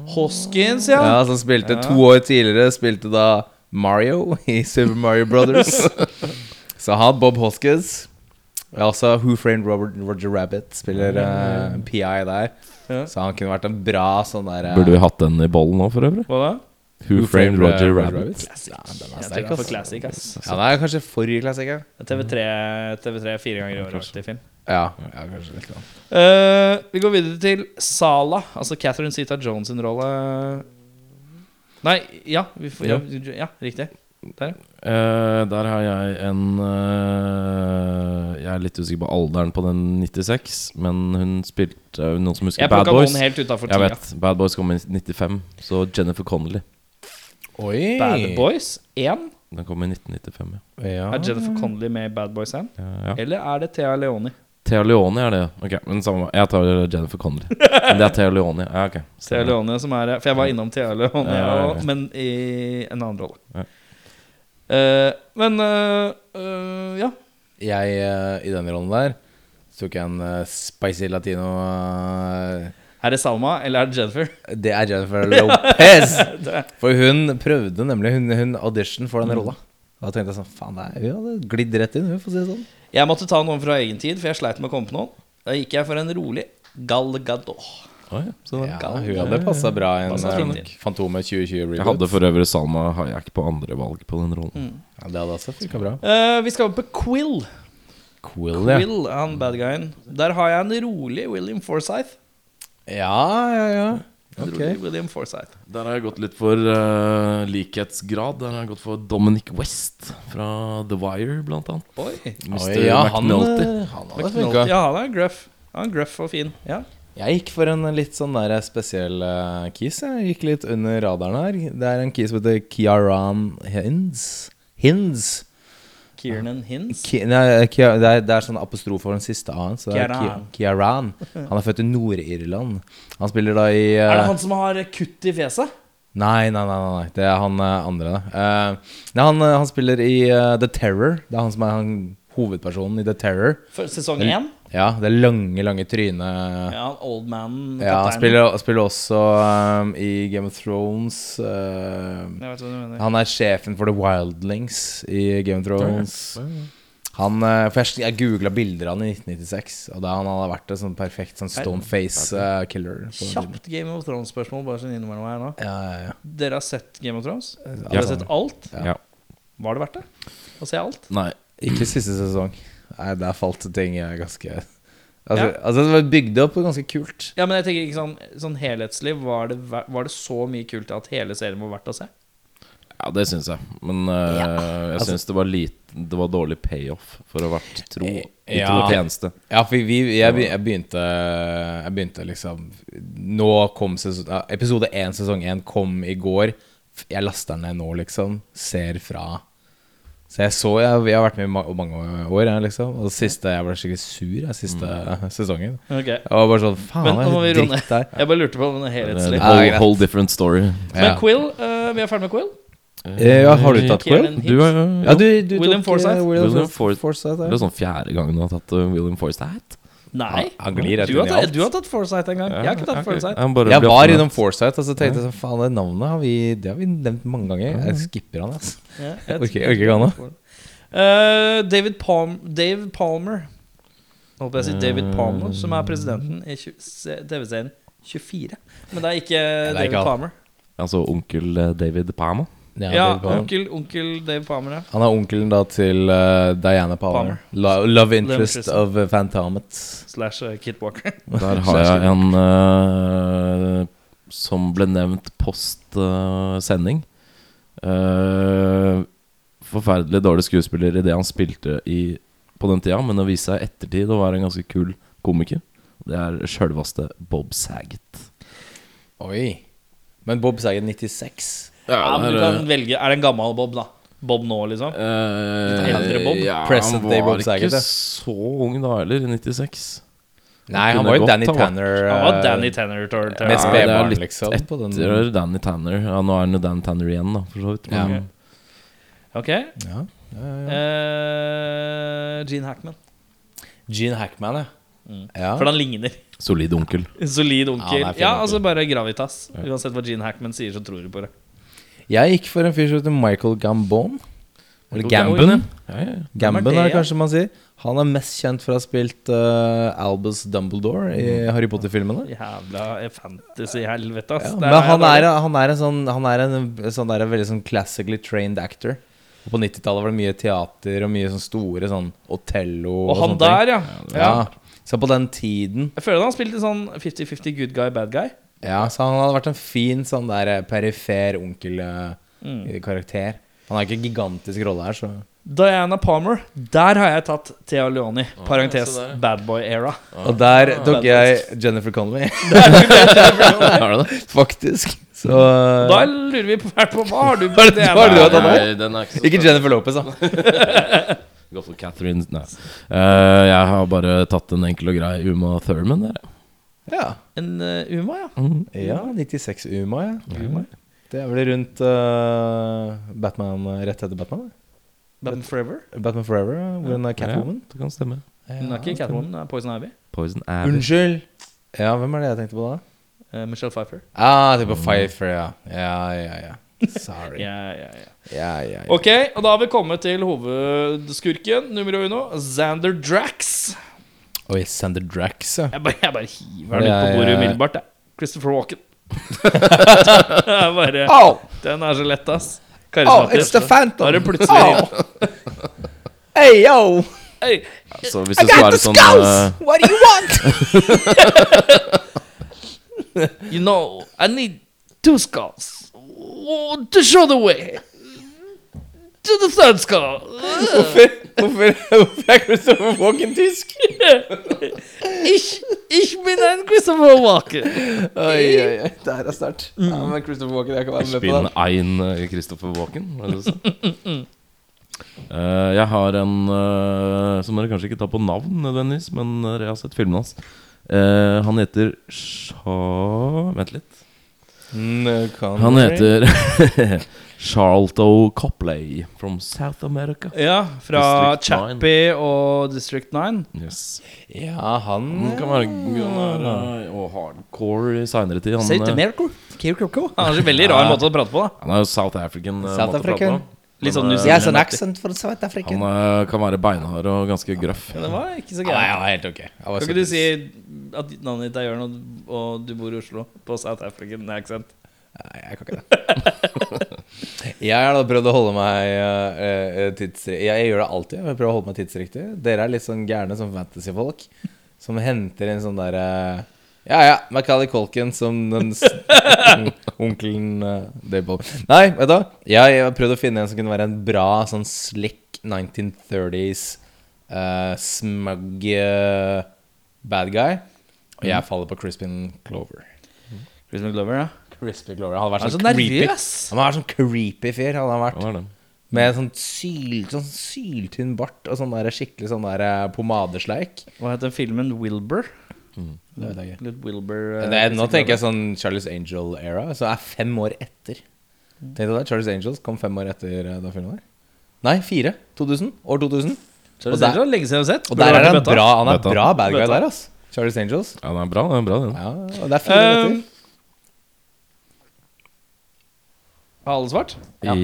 Speaker 1: Hoskins, ja.
Speaker 4: Ja, som spilte to år tidligere Spilte da Mario i Super Mario Brothers Så han, Bob Hoskins Og også Who Framed Robert, Roger Rabbit Spiller eh, PI der
Speaker 1: Ja.
Speaker 4: Så han kunne vært en bra sånn der eh,
Speaker 3: Burde vi hatt den i bollen nå, for øvrig?
Speaker 1: Hva da?
Speaker 3: Who framed
Speaker 4: eh,
Speaker 3: Roger Rabbit?
Speaker 1: Classic.
Speaker 4: Ja, den
Speaker 1: Jeg
Speaker 4: er
Speaker 1: tror
Speaker 4: sterk,
Speaker 1: det er for
Speaker 4: ass
Speaker 1: classic, ass.
Speaker 4: Ja, den er kanskje for klassiker
Speaker 1: TV3, TV3 fire ganger i året-aktig film.
Speaker 4: Ja, ja kanskje litt sånn
Speaker 1: Eh, vi går videre til Sala, altså Catherine Zeta Jones sin rolle. Nei, ja, vi får, ja. ja riktig. Der.
Speaker 3: Eh, der har jeg en eh, Jeg er litt usikker på alderen på den 96, men hun spilte uh, Noen som husker
Speaker 1: Jeg
Speaker 3: Bad
Speaker 1: plukka
Speaker 3: Boys?
Speaker 1: noen helt utafor
Speaker 3: Jeg
Speaker 1: tida.
Speaker 3: vet. Bad Boys kom i 95, så Jennifer Connolly.
Speaker 4: Oi
Speaker 1: Bad Boys 1.
Speaker 3: Den kom i 1995, ja.
Speaker 4: ja.
Speaker 1: Er Jennifer Connolly med i Bad Boys 1?
Speaker 3: Ah. ja, ja.
Speaker 1: Eller er det Thea Leoni?
Speaker 3: Thea Leone er det, ja. Ok, men samme Jeg tar Jennifer Connolly. Men det er Thea Leone, ja. ok.
Speaker 1: Thea Leoni som er For jeg var innom Thea Leoni,
Speaker 3: Ja, ja, ja.
Speaker 1: og- men i en annen rolle.
Speaker 3: Ja.
Speaker 1: Eh, men eh, eh, ja.
Speaker 4: Jeg, eh, i den rollen der Så tok jeg en eh, spicy latino eh,
Speaker 1: Er det Salma, eller er det Jennifer?
Speaker 4: Det er Jennifer Lopez! For hun prøvde nemlig Hun, hun audition for den rolla. Da tenkte jeg sånn Faen, det er- hun hadde glidd rett inn, hun, for å si det sånn.
Speaker 1: Jeg måtte ta noen fra egen tid, for jeg sleit med å komme på noen. Da gikk jeg for en rolig Gal Gadot.
Speaker 3: Oi, så det-
Speaker 4: Ja, hun hadde passa bra i en
Speaker 1: Passet fint
Speaker 4: eh,
Speaker 1: inn.
Speaker 4: Fantomet 2020 reboot.
Speaker 3: Jeg hadde for øvrig Salma Hayek på andre valg på den rollen.
Speaker 4: ja, det hadde også funka bra.
Speaker 1: Eh, vi skal over på Quill.
Speaker 4: Quill, ja.
Speaker 1: Quill, han bad guyen. Der har jeg en rolig William Forsythe.
Speaker 4: Ja, ja, ja.
Speaker 1: En
Speaker 4: Ok.
Speaker 1: Rolig William Forsythe.
Speaker 3: Der har jeg gått litt for eh, likhetsgrad. Der har jeg gått for Dominic West fra The Wire, blant annet.
Speaker 1: Oi.
Speaker 3: Mr.
Speaker 4: Oi, ja, han,
Speaker 3: McNulty.
Speaker 4: eh, han hadde
Speaker 1: Ja,
Speaker 4: funka.
Speaker 1: han er gruff. Han er gruff og fin. Ja.
Speaker 4: Jeg gikk for en litt sånn der spesiell eh, keys. Jeg gikk litt under radaren her. Det er en keys som heter Kiaran Hinds. Hinds.
Speaker 1: Kiernan Hins.
Speaker 4: Ki, nei, Kia, det, er, det er sånn apostrof for den siste A-en. så det er
Speaker 1: Kieran.
Speaker 4: Ki- Kieran. Han er født i Nord-Irland. Han spiller da i eh,
Speaker 1: Er det han som har kutt i fjeset?
Speaker 4: Nei, nei, nei, nei, nei. det er han eh, andre. Eh, nei, han, eh, han spiller i eh, The Terror. Det er han som er han, hovedpersonen i The Terror.
Speaker 1: For sesong én?
Speaker 4: Ja, det lange, lange trynet. Ja.
Speaker 1: Ja, han old man
Speaker 4: han
Speaker 1: kapteinen.
Speaker 4: spiller, han spiller også eh, i Game of Thrones. eh,
Speaker 1: Jeg vet hva du mener.
Speaker 4: han er sjefen for The Wildlings i Game of Thrones. Han, eh, for jeg, jeg googla bilder av han i 1996, og da han hadde vært en sånn perfekt sånn eh, stoneface-killer.
Speaker 1: Kjapt Game of Thrones-spørsmål, bare sånn innimellom her nå.
Speaker 4: ja, ja, ja.
Speaker 1: Dere har sett Game of Thrones? Dere har
Speaker 4: sånn.
Speaker 1: sett alt?
Speaker 3: Ja.
Speaker 1: Var det verdt det? Å se alt?
Speaker 3: Nei.
Speaker 4: Ikke siste sesong. Nei, der falt ting jeg ganske Altså,
Speaker 1: Ja.
Speaker 4: altså det var bygd opp ganske kult.
Speaker 1: Ja, men jeg tenker ikke sånn, sånn helhetslig var det, ver- var det så mye kult at hele serien var verdt å se?
Speaker 3: Ja, det syns jeg. Men eh, jeg
Speaker 4: Altså
Speaker 3: syns det var lite Det var dårlig payoff for å ha vært tro i tro
Speaker 4: Eh, Ja.
Speaker 3: og tjeneste.
Speaker 4: Ja, for vi, jeg, be- jeg begynte Jeg begynte liksom Nå kom sesong ja, Episode 1, sesong 1 kom i går. F- Jeg laster den ned nå, liksom. Ser fra. Så jeg så Jeg, jeg har vært med i ma mange år, jeg, liksom. Og det siste jeg ble skikkelig sur jeg, siste sesongen.
Speaker 1: Ok
Speaker 4: Mm. Jeg var bare sånn
Speaker 1: Men
Speaker 4: Faen,
Speaker 1: nå må vi
Speaker 4: det er
Speaker 1: roe ned.
Speaker 4: dritt der.
Speaker 1: Jeg bare lurte på om den er
Speaker 3: Whole,
Speaker 1: helhetslig.
Speaker 4: greit.
Speaker 3: whole different story.
Speaker 1: Men
Speaker 4: Ja.
Speaker 1: Quill, eh, vi er ferdig med Quill.
Speaker 4: Eh, ja, har du
Speaker 1: Kieran
Speaker 4: tatt Quill?
Speaker 1: Hins.
Speaker 3: Du er
Speaker 4: Ja, du, du
Speaker 1: William
Speaker 4: tok, eh,
Speaker 1: Forsythe?
Speaker 3: William
Speaker 4: William
Speaker 3: For-
Speaker 4: For- Forsythe. ja.
Speaker 3: Det er sånn fjerde gangen du har tatt uh, William Forsythe.
Speaker 1: Nei.
Speaker 4: Han- han glir rett
Speaker 1: du, har
Speaker 4: inn i
Speaker 1: tatt,
Speaker 4: alt.
Speaker 1: du har tatt Foresight en gang. Jeg har ikke tatt Foresight.
Speaker 3: Jeg, bare
Speaker 4: Jeg
Speaker 3: ble
Speaker 4: var
Speaker 3: opptatt.
Speaker 4: innom Foresight, og så tenkte jeg sånn Faen, det navnet har vi, det har vi nevnt mange ganger. Jeg skipper han, altså.
Speaker 1: Ja,
Speaker 4: Jeg orker jeg orker ikke han nå.
Speaker 1: Eh, David Palm, Dave Palmer Holdt på å si David
Speaker 4: Eh.
Speaker 1: Palmer, som er presidenten i tju- se- TV-serien 24. Men det er ikke
Speaker 4: er
Speaker 1: David
Speaker 4: ikke han.
Speaker 1: Palmer.
Speaker 3: Altså onkel eh, David Palmer.
Speaker 1: Ja,
Speaker 4: David Palmer.
Speaker 1: onkel, onkel Dave Palmer, ja.
Speaker 4: Han er onkelen da til eh, Diana Palmer.
Speaker 1: Palmer.
Speaker 4: Lo love interest
Speaker 1: interest.
Speaker 4: of uh, Fantomet.
Speaker 1: Slash eh, Kit Walker.
Speaker 3: Der har jeg en eh, som ble nevnt post eh, sending. Eh, forferdelig dårlig skuespiller i det han spilte i på den tida, men det viste seg i ettertid å være en ganske kul komiker. Det er sjølveste Bob Saget.
Speaker 4: Oi. Men Bob Saget 96.
Speaker 1: Ja, men du kan velge Er det en gammel Bob, da? Bob nå, liksom?
Speaker 4: Eh,
Speaker 1: Litt eldre Bob?
Speaker 3: Ja,
Speaker 4: Present
Speaker 3: han
Speaker 4: day Bob
Speaker 3: var
Speaker 4: Saget, ja.
Speaker 3: ikke så ung da heller, i 96.
Speaker 4: Nei, han
Speaker 3: kunne
Speaker 4: var jo
Speaker 3: godt
Speaker 4: Danny
Speaker 3: ha vært-
Speaker 4: Tanner.
Speaker 1: Han var
Speaker 4: eh,
Speaker 1: Danny Tanner. Tor- Tor-
Speaker 4: Mest
Speaker 1: Ja.
Speaker 3: Ja, det er
Speaker 4: spedbarn,
Speaker 3: litt
Speaker 4: liksom. på den-
Speaker 3: Etter Danny Tanner. Ja, nå er han jo Danny Tanner igjen, da, for så vidt. Men,
Speaker 4: Ja.
Speaker 1: Ok.
Speaker 4: Ja.
Speaker 1: Eh, Gene Hackman.
Speaker 4: Gene Hackman, ja. ja.
Speaker 1: For han ligner.
Speaker 3: Solid onkel.
Speaker 1: Solid onkel.
Speaker 4: Ja, han
Speaker 1: Ja,
Speaker 4: er fin onkel.
Speaker 1: altså bare gravitas. Uansett hva Gene Hackman sier, så tror du på det.
Speaker 4: Jeg gikk for en fyr som heter Michael Gambon. Eller
Speaker 3: Gambon,
Speaker 4: Gambon.
Speaker 3: Ja, ja, ja.
Speaker 4: Gambon
Speaker 1: Hvem er
Speaker 4: er
Speaker 1: det,
Speaker 4: det kanskje man sier. Han er mest kjent for å ha spilt eh, Albus Dumbledore i
Speaker 3: Mm.
Speaker 4: Harry Potter-filmene.
Speaker 1: Jævla fantasy-helvete, ass.
Speaker 4: Ja,
Speaker 1: Der
Speaker 4: men
Speaker 1: er
Speaker 4: han
Speaker 1: jeg
Speaker 4: er,
Speaker 1: dårlig.
Speaker 4: han er en sånn Han er en sånn der, veldig sånn classically trained actor. Og på 90-tallet var det mye teater og mye sånn store sånn Otello
Speaker 1: Og han
Speaker 4: sånne ting.
Speaker 1: der, ja.
Speaker 4: ja.
Speaker 1: ja.
Speaker 4: Så på den tiden
Speaker 1: Jeg føler han spilte sånn 50-50 good guy, bad guy.
Speaker 4: Ja, så han hadde vært en fin sånn der eh, perifer
Speaker 1: Mm.
Speaker 4: onkel-karakter. Han har ikke en gigantisk rolle her, så
Speaker 1: Diana Palmer. Der har jeg tatt Thea Leoni. Parentes
Speaker 3: se der.
Speaker 1: bad boy era.
Speaker 4: Og der
Speaker 1: Ah,
Speaker 4: tok jeg Jennifer Connolly,
Speaker 3: Har du det?
Speaker 4: faktisk. Så eh,
Speaker 1: Da lurer vi på hvert på hva har du
Speaker 4: Hva er det- hva er det du har tatt?
Speaker 1: Diana?
Speaker 4: Nei,
Speaker 3: den er ikke så
Speaker 4: Ikke Jennifer Lopez, da.
Speaker 3: Gått for Catherine Nei. Eh, jeg har bare tatt en enkel og grei Uma Thurman der. jeg.
Speaker 4: Ja,
Speaker 1: En eh, Uma, ja.
Speaker 4: ja 96 Uma, ja. Det er vel rundt eh, Batman eh, rett etter Batman? da.
Speaker 1: Batman Forever.
Speaker 4: Batman Forever, eh, hvor hun er Catwoman.
Speaker 3: Ja, det kan stemme.
Speaker 1: Hun er ikke Catwoman,
Speaker 4: eh,
Speaker 1: hun er Poison Ivy.
Speaker 3: Poison Abbey.
Speaker 4: Unnskyld! Ja, hvem er det jeg tenkte på da?
Speaker 1: Eh, Michelle Pfeiffer.
Speaker 4: Ah, det er på Pfeiffer, ja. Ja, ja, ja. Sorry.
Speaker 1: Ja, ja, ja.
Speaker 4: Ja, ja, ja.
Speaker 1: Ok, og da har vi kommet til hovedskurken, nummer uno, Xander Drax.
Speaker 4: Oi, Sander Drax, ja.
Speaker 1: Jeg bare, jeg bare hiver
Speaker 4: Det
Speaker 1: den ut
Speaker 4: er-
Speaker 1: på bordet umiddelbart. jeg. Christopher Walken. Det er bare,
Speaker 4: Au!
Speaker 1: den er så lett, ass.
Speaker 4: Au, Ah, it's the
Speaker 1: Da er det
Speaker 4: Phantom!
Speaker 1: plutselig
Speaker 4: Hey, yo!
Speaker 1: Hei,
Speaker 3: Så hvis det skal være sånn eh,
Speaker 4: What do you want?
Speaker 1: You know, I need two skulls Oh, to show the way. To the third skull.
Speaker 4: Hvorfor, hvorfor er Christopher Walken tysk?
Speaker 1: Ich, ich bin ein Christopher Walken.
Speaker 4: Oi, oi, Mm. oi. Der er sterkt. Ja, men Christopher Walken, jeg kan være med på
Speaker 3: Spinn
Speaker 4: det.
Speaker 3: ein eh, Christopher Walken. var det det du sa? Eh, jeg har en eh, som dere kanskje ikke tar på navn nødvendigvis, men dere har sett filmen hans. Eh, han heter Sha... Vent litt.
Speaker 4: Mm, kan-
Speaker 3: Han heter Charlto Copley from South America.
Speaker 1: Ja, fra
Speaker 3: District
Speaker 1: Chappie og District 9.
Speaker 3: Yes.
Speaker 4: Ja, han
Speaker 3: Han Mm, kan være han er, eh, og hardcore i seinere tid. Han,
Speaker 1: South
Speaker 3: eh,
Speaker 1: America. Kirkoko. Han har en veldig rar måte å prate på. da
Speaker 3: han er jo South African. eh,
Speaker 4: South
Speaker 3: måte å prate
Speaker 4: African.
Speaker 3: på.
Speaker 1: Litt sånn
Speaker 3: Men, eh,
Speaker 1: New
Speaker 4: Jeg
Speaker 1: Zealand.
Speaker 4: har sånn accent fra Sør-Afrika.
Speaker 3: Han eh, kan være beinhard og ganske grøff.
Speaker 1: Det var ikke så
Speaker 4: Ja,
Speaker 1: gærent.
Speaker 4: ja, helt ok. Jeg var
Speaker 1: Kan ikke du
Speaker 4: skeptisk.
Speaker 1: si at navnet ditt er Jørn, og- og du bor i Oslo, på South African accent?
Speaker 4: Nei, jeg kan ikke det. jeg har da prøvd å holde meg eh, eh, tidsri- jeg, jeg gjør det alltid. Jeg prøver å holde meg tidsriktig. Dere er litt sånn gærne som fantasyfolk som henter inn sånn derre ja, ja, Macauley Colkin som den s- onkelen eh, Dave Bob. Nei, vet du hva? Jeg har prøvd å finne en som kunne være en bra sånn slick 1930s uh, smug eh, bad guy. Og jeg faller på Crispin Clover.
Speaker 1: Chris McGlover, ja.
Speaker 4: Crispy Glover. Han hadde vært
Speaker 1: Han er så
Speaker 4: sånn creepy.
Speaker 1: nervøs.
Speaker 4: Han var sånn creepy fyr. Han hadde vært
Speaker 3: Han er det.
Speaker 4: Med sånn, syl, sånn syltynn bart og sånn der, skikkelig sånn der eh, pomadesleik.
Speaker 1: Hva het den filmen? Wilbur?
Speaker 4: Det vet jeg ikke.
Speaker 1: Litt Wilbur eh,
Speaker 4: Det er, nå
Speaker 1: Chris
Speaker 4: tenker jeg sånn Charles Angel-era, så er fem år etter. Tenk deg det, Charles Angels kom fem år etter eh, den filmen der. Nei, fire. 2000. År
Speaker 1: McGlover.
Speaker 4: 2000. Og der,
Speaker 1: Det er lenge siden jeg har sett.
Speaker 4: og
Speaker 1: Burde
Speaker 4: der
Speaker 1: vært
Speaker 4: er
Speaker 1: i
Speaker 4: han
Speaker 1: bøtta.
Speaker 4: bra, han er
Speaker 3: Bøtta.
Speaker 4: bra bad guy
Speaker 1: Bøtta.
Speaker 4: der, ass. Charles Angels.
Speaker 3: Ja, den er bra, den. er bra den.
Speaker 4: Ja, og det er fire år
Speaker 1: Um,
Speaker 4: etter.
Speaker 1: Har alle svart?
Speaker 3: Ja.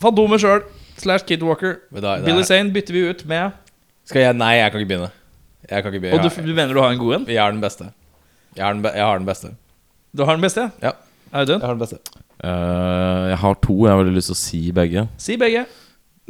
Speaker 1: Fantomet sjøl. slash Kid Walker.
Speaker 4: Men da- det
Speaker 1: Billy
Speaker 4: er-
Speaker 1: Zane bytter vi ut med
Speaker 4: Skal jeg Nei, jeg kan ikke begynne. Jeg kan ikke
Speaker 1: Og
Speaker 4: begynne.
Speaker 1: du, du mener du har en god en?
Speaker 4: Jeg, jeg er den beste. Jeg, er den be jeg har den beste.
Speaker 1: Du har den beste?
Speaker 4: Ja.
Speaker 1: Audun?
Speaker 4: Jeg har den beste.
Speaker 3: Eh, jeg har to jeg har veldig lyst til å si begge.
Speaker 1: Si begge.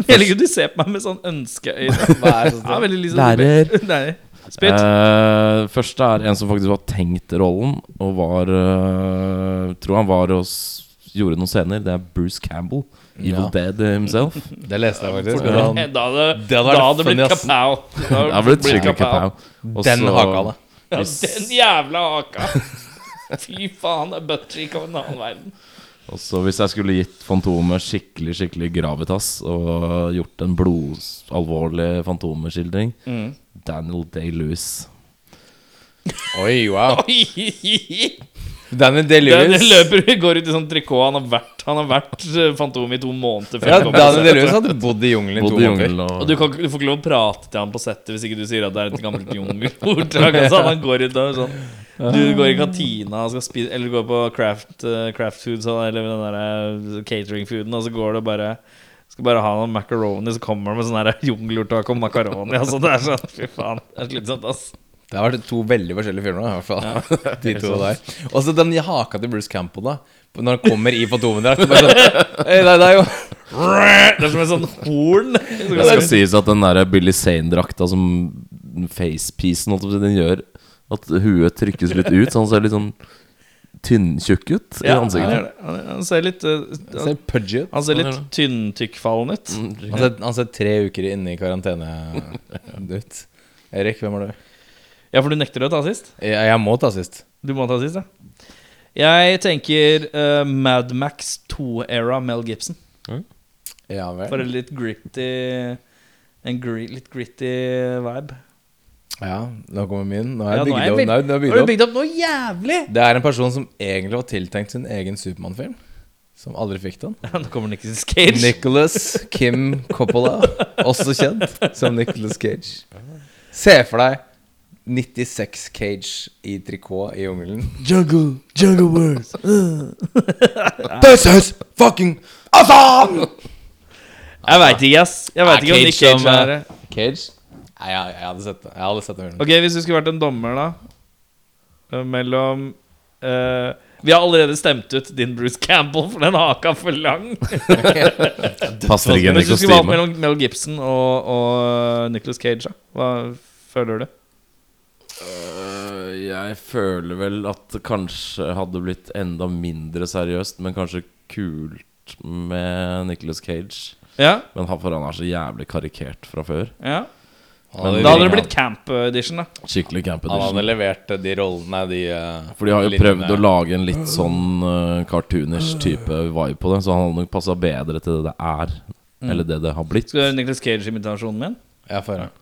Speaker 1: Jeg liker at du ser på meg med sånn ønskeøyne.
Speaker 4: Hva er det
Speaker 1: Jeg har
Speaker 4: sånn?
Speaker 1: veldig lyst til å si begge.
Speaker 3: Lærer.
Speaker 1: Nei. Spytt.
Speaker 3: Eh, første er en som faktisk var tenkt rollen, og var eh, Tror han var og s- gjorde noen scener. Det er Bruce Campbell. Evil
Speaker 4: Ja.
Speaker 3: Dead himself.
Speaker 4: Det leste jeg faktisk.
Speaker 1: Da hadde
Speaker 4: men han-
Speaker 1: da hadde
Speaker 4: um, Det hadde vært
Speaker 1: det blitt
Speaker 4: funny, ass.
Speaker 1: kapow. Da
Speaker 3: Det er vel et skikkelig kapow. Og
Speaker 4: Den
Speaker 3: så-
Speaker 4: haka, da.
Speaker 1: Ja, den jævla haka. Fy faen, det er buttrick av en annen verden.
Speaker 3: Og så hvis jeg skulle gitt Fantomet skikkelig skikkelig gravitas og gjort en blodalvorlig Fantomeskildring
Speaker 1: Mm.
Speaker 3: Daniel Day-Lewis.
Speaker 4: Oi, wow.
Speaker 1: Oi!
Speaker 4: Danny
Speaker 1: Den
Speaker 4: DeLuis.
Speaker 1: løper går ut i sånn trikot. Han har vært, han har vært eh, Fantom i to måneder. før
Speaker 4: Ja,
Speaker 1: han kom på
Speaker 4: Danny
Speaker 1: settet.
Speaker 4: DeLuis hadde bodd i jungelen i to
Speaker 3: Både
Speaker 4: måneder.
Speaker 3: jungel og,
Speaker 1: Og du, kan, ikke- du får ikke lov å prate til han på settet hvis ikke du sier at det er et gammelt jungelordtak. Altså, han går ut og er sånn Du går i kantina og skal spise Eller går på craft, eh, craft food sånn, eller den der eh, catering fooden, og så går det bare skal bare ha noen macaroni, så kommer han med sånn her jungelordtak om macaroni. Altså, det er sånn, fy faen, det er slitsomt, ass.
Speaker 4: Det har vært to veldig forskjellige filmer. da, i hvert fall De to der Og så den haka til Bruce Campbell, da. Når han kommer i Fantomen-drakt. det er bare sånn, «Hei, det er deg, jo».
Speaker 1: Det er som et sånn horn.
Speaker 3: Det skal sies at den der Billy Sane-drakta som facepiecen holdt jeg på å si, den gjør at huet trykkes litt ut, så han ser litt sånn tynntjukk ut i
Speaker 1: Ja, han,
Speaker 3: ansiktet. Sånn
Speaker 1: gjør det. Han- han ser litt eh,
Speaker 4: Han ser pudgy ut.
Speaker 1: Han ser
Speaker 3: Han gjør
Speaker 1: litt tynntykkfallen ut.
Speaker 4: Han ser, han ser tre uker inne i karantene ut. Erik, hvem er du?
Speaker 1: Ja, for du nekter å ta sist?
Speaker 4: Jeg, jeg må ta sist.
Speaker 1: Du må ta sist, ja. Jeg tenker eh, Mad Max 2-era Mel Gibson.
Speaker 4: Ja
Speaker 1: For en
Speaker 4: vel.
Speaker 1: litt gritty En gri, litt gritty vibe.
Speaker 4: Ja, nå kommer min. Nå
Speaker 1: Ja,
Speaker 4: har jeg
Speaker 1: nå er jeg
Speaker 4: bygd opp.
Speaker 1: veldig-
Speaker 4: Nå har jeg- nå har jeg
Speaker 1: Har du
Speaker 4: bygd opp.
Speaker 1: bygd opp noe jævlig?
Speaker 4: Det er en person som egentlig var tiltenkt sin egen Supermann-film, som aldri fikk den.
Speaker 1: Ja, Nå kommer Nicholas Cage.
Speaker 4: Nicholas Kim Coppola, også kjent som Nicholas Cage. Se for deg 96 Cage i trikot i jungelen.
Speaker 6: Jungle, jungle words.
Speaker 4: This is fucking awesome!
Speaker 1: jeg veit ikke, ass. Jeg
Speaker 4: Er
Speaker 1: vet ikke om Nick
Speaker 4: Cage som,
Speaker 1: Ah, Cage er det.
Speaker 4: Cage? Nei, jeg, jeg hadde sett det. Jeg hadde sett det.
Speaker 1: Ok, Hvis du skulle vært en dommer, da eh, Mellom eh, Vi har allerede stemt ut din Bruce Campbell, for den haka for lang. Men hvis du skulle
Speaker 3: Passer ikke inn i
Speaker 1: valgt
Speaker 3: kostymet.
Speaker 1: mellom Mel Gibson og, og Nicholas Cage, da, hva føler du?
Speaker 3: Øh, Jeg føler vel at det kanskje hadde blitt enda mindre seriøst, men kanskje kult med Nicolas Cage.
Speaker 1: Ja,
Speaker 3: Men han, for han er så jævlig karikert fra før.
Speaker 1: ja
Speaker 3: Men
Speaker 1: Da hadde det blitt camp edition, da.
Speaker 3: skikkelig camp
Speaker 4: Han hadde
Speaker 3: edition.
Speaker 4: levert de rollene de eh,
Speaker 3: For de har jo
Speaker 4: linjene.
Speaker 3: prøvd å lage en litt sånn øh, cartoonish type vibe på det, så han hadde nok passa bedre til det det er, eller det det har blitt.
Speaker 1: Skal du høre Nicholas Cage-imitasjonen min?
Speaker 4: Ja, få høre.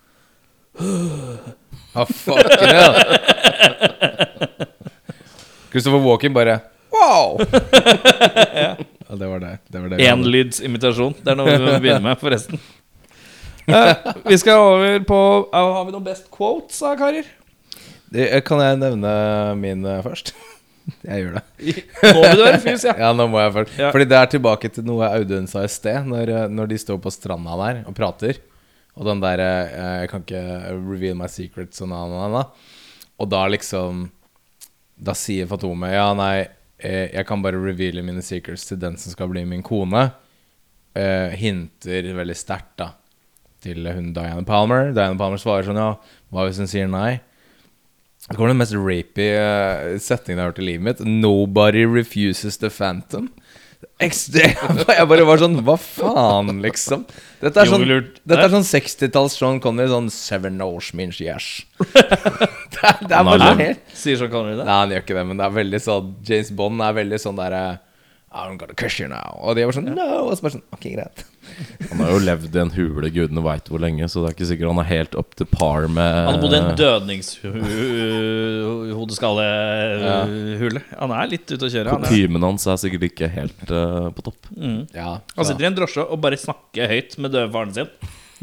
Speaker 4: Ah, fucking hell. Christopher Walken bare Wow! ja, det var det. det, var det vi hadde.
Speaker 1: Enlydsimitasjon. Det er noe vi må begynne med, forresten. Eh, vi skal over på eh, Har vi noen best quotes, da, karer?
Speaker 4: Det- Kan jeg nevne min eh, først? Jeg gjør det.
Speaker 1: Må vi det, Fys? Ja.
Speaker 4: Ja, nå må jeg først.
Speaker 1: Ja.
Speaker 4: Fordi det er tilbake til noe Audun sa i sted, når, eh, når de står på stranda der og prater. Og den derre eh, 'Jeg kan ikke reveal my secrets' og na, na, na, na. Og da liksom Da sier Fatome 'Ja, nei, eh, jeg kan bare reveale mine secrets til den som skal bli min kone'. Eh, hinter veldig sterkt, da, til hun Diana Palmer. Diana Palmer svarer sånn 'Ja, hva hvis hun sier nei?' Det kommer den mest rapy eh, setningen jeg har hørt i livet mitt. 'Nobody refuses the phantom'. Ekstremt. Jeg bare var sånn Hva faen, liksom? Dette er sånn,
Speaker 1: Jungelurt.
Speaker 4: dette er sånn 60-talls Sean Connery. Sånn 'Seven hours means yes'. det, er- det er
Speaker 3: Han har
Speaker 4: bare
Speaker 3: lang-
Speaker 4: helt
Speaker 1: Sier Sean Connery det?
Speaker 4: Nei, han gjør ikke det, men det er veldig sånn James Bond er veldig sånn derre I'm gonna crush you now. Og de var sånn No! Og så bare sånn Ok, greit.
Speaker 3: Han har jo levd i en hule gudene veit hvor lenge, så det er ikke sikkert han er helt up to par med
Speaker 1: Han bodde i en dødningshodeskallehule. Han er litt ute å kjøre. Han, er.
Speaker 3: Kutymen hans er sikkert ikke helt eh, på topp.
Speaker 4: Ja.
Speaker 1: han sitter i en drosje og bare snakker høyt med døvfaren sin.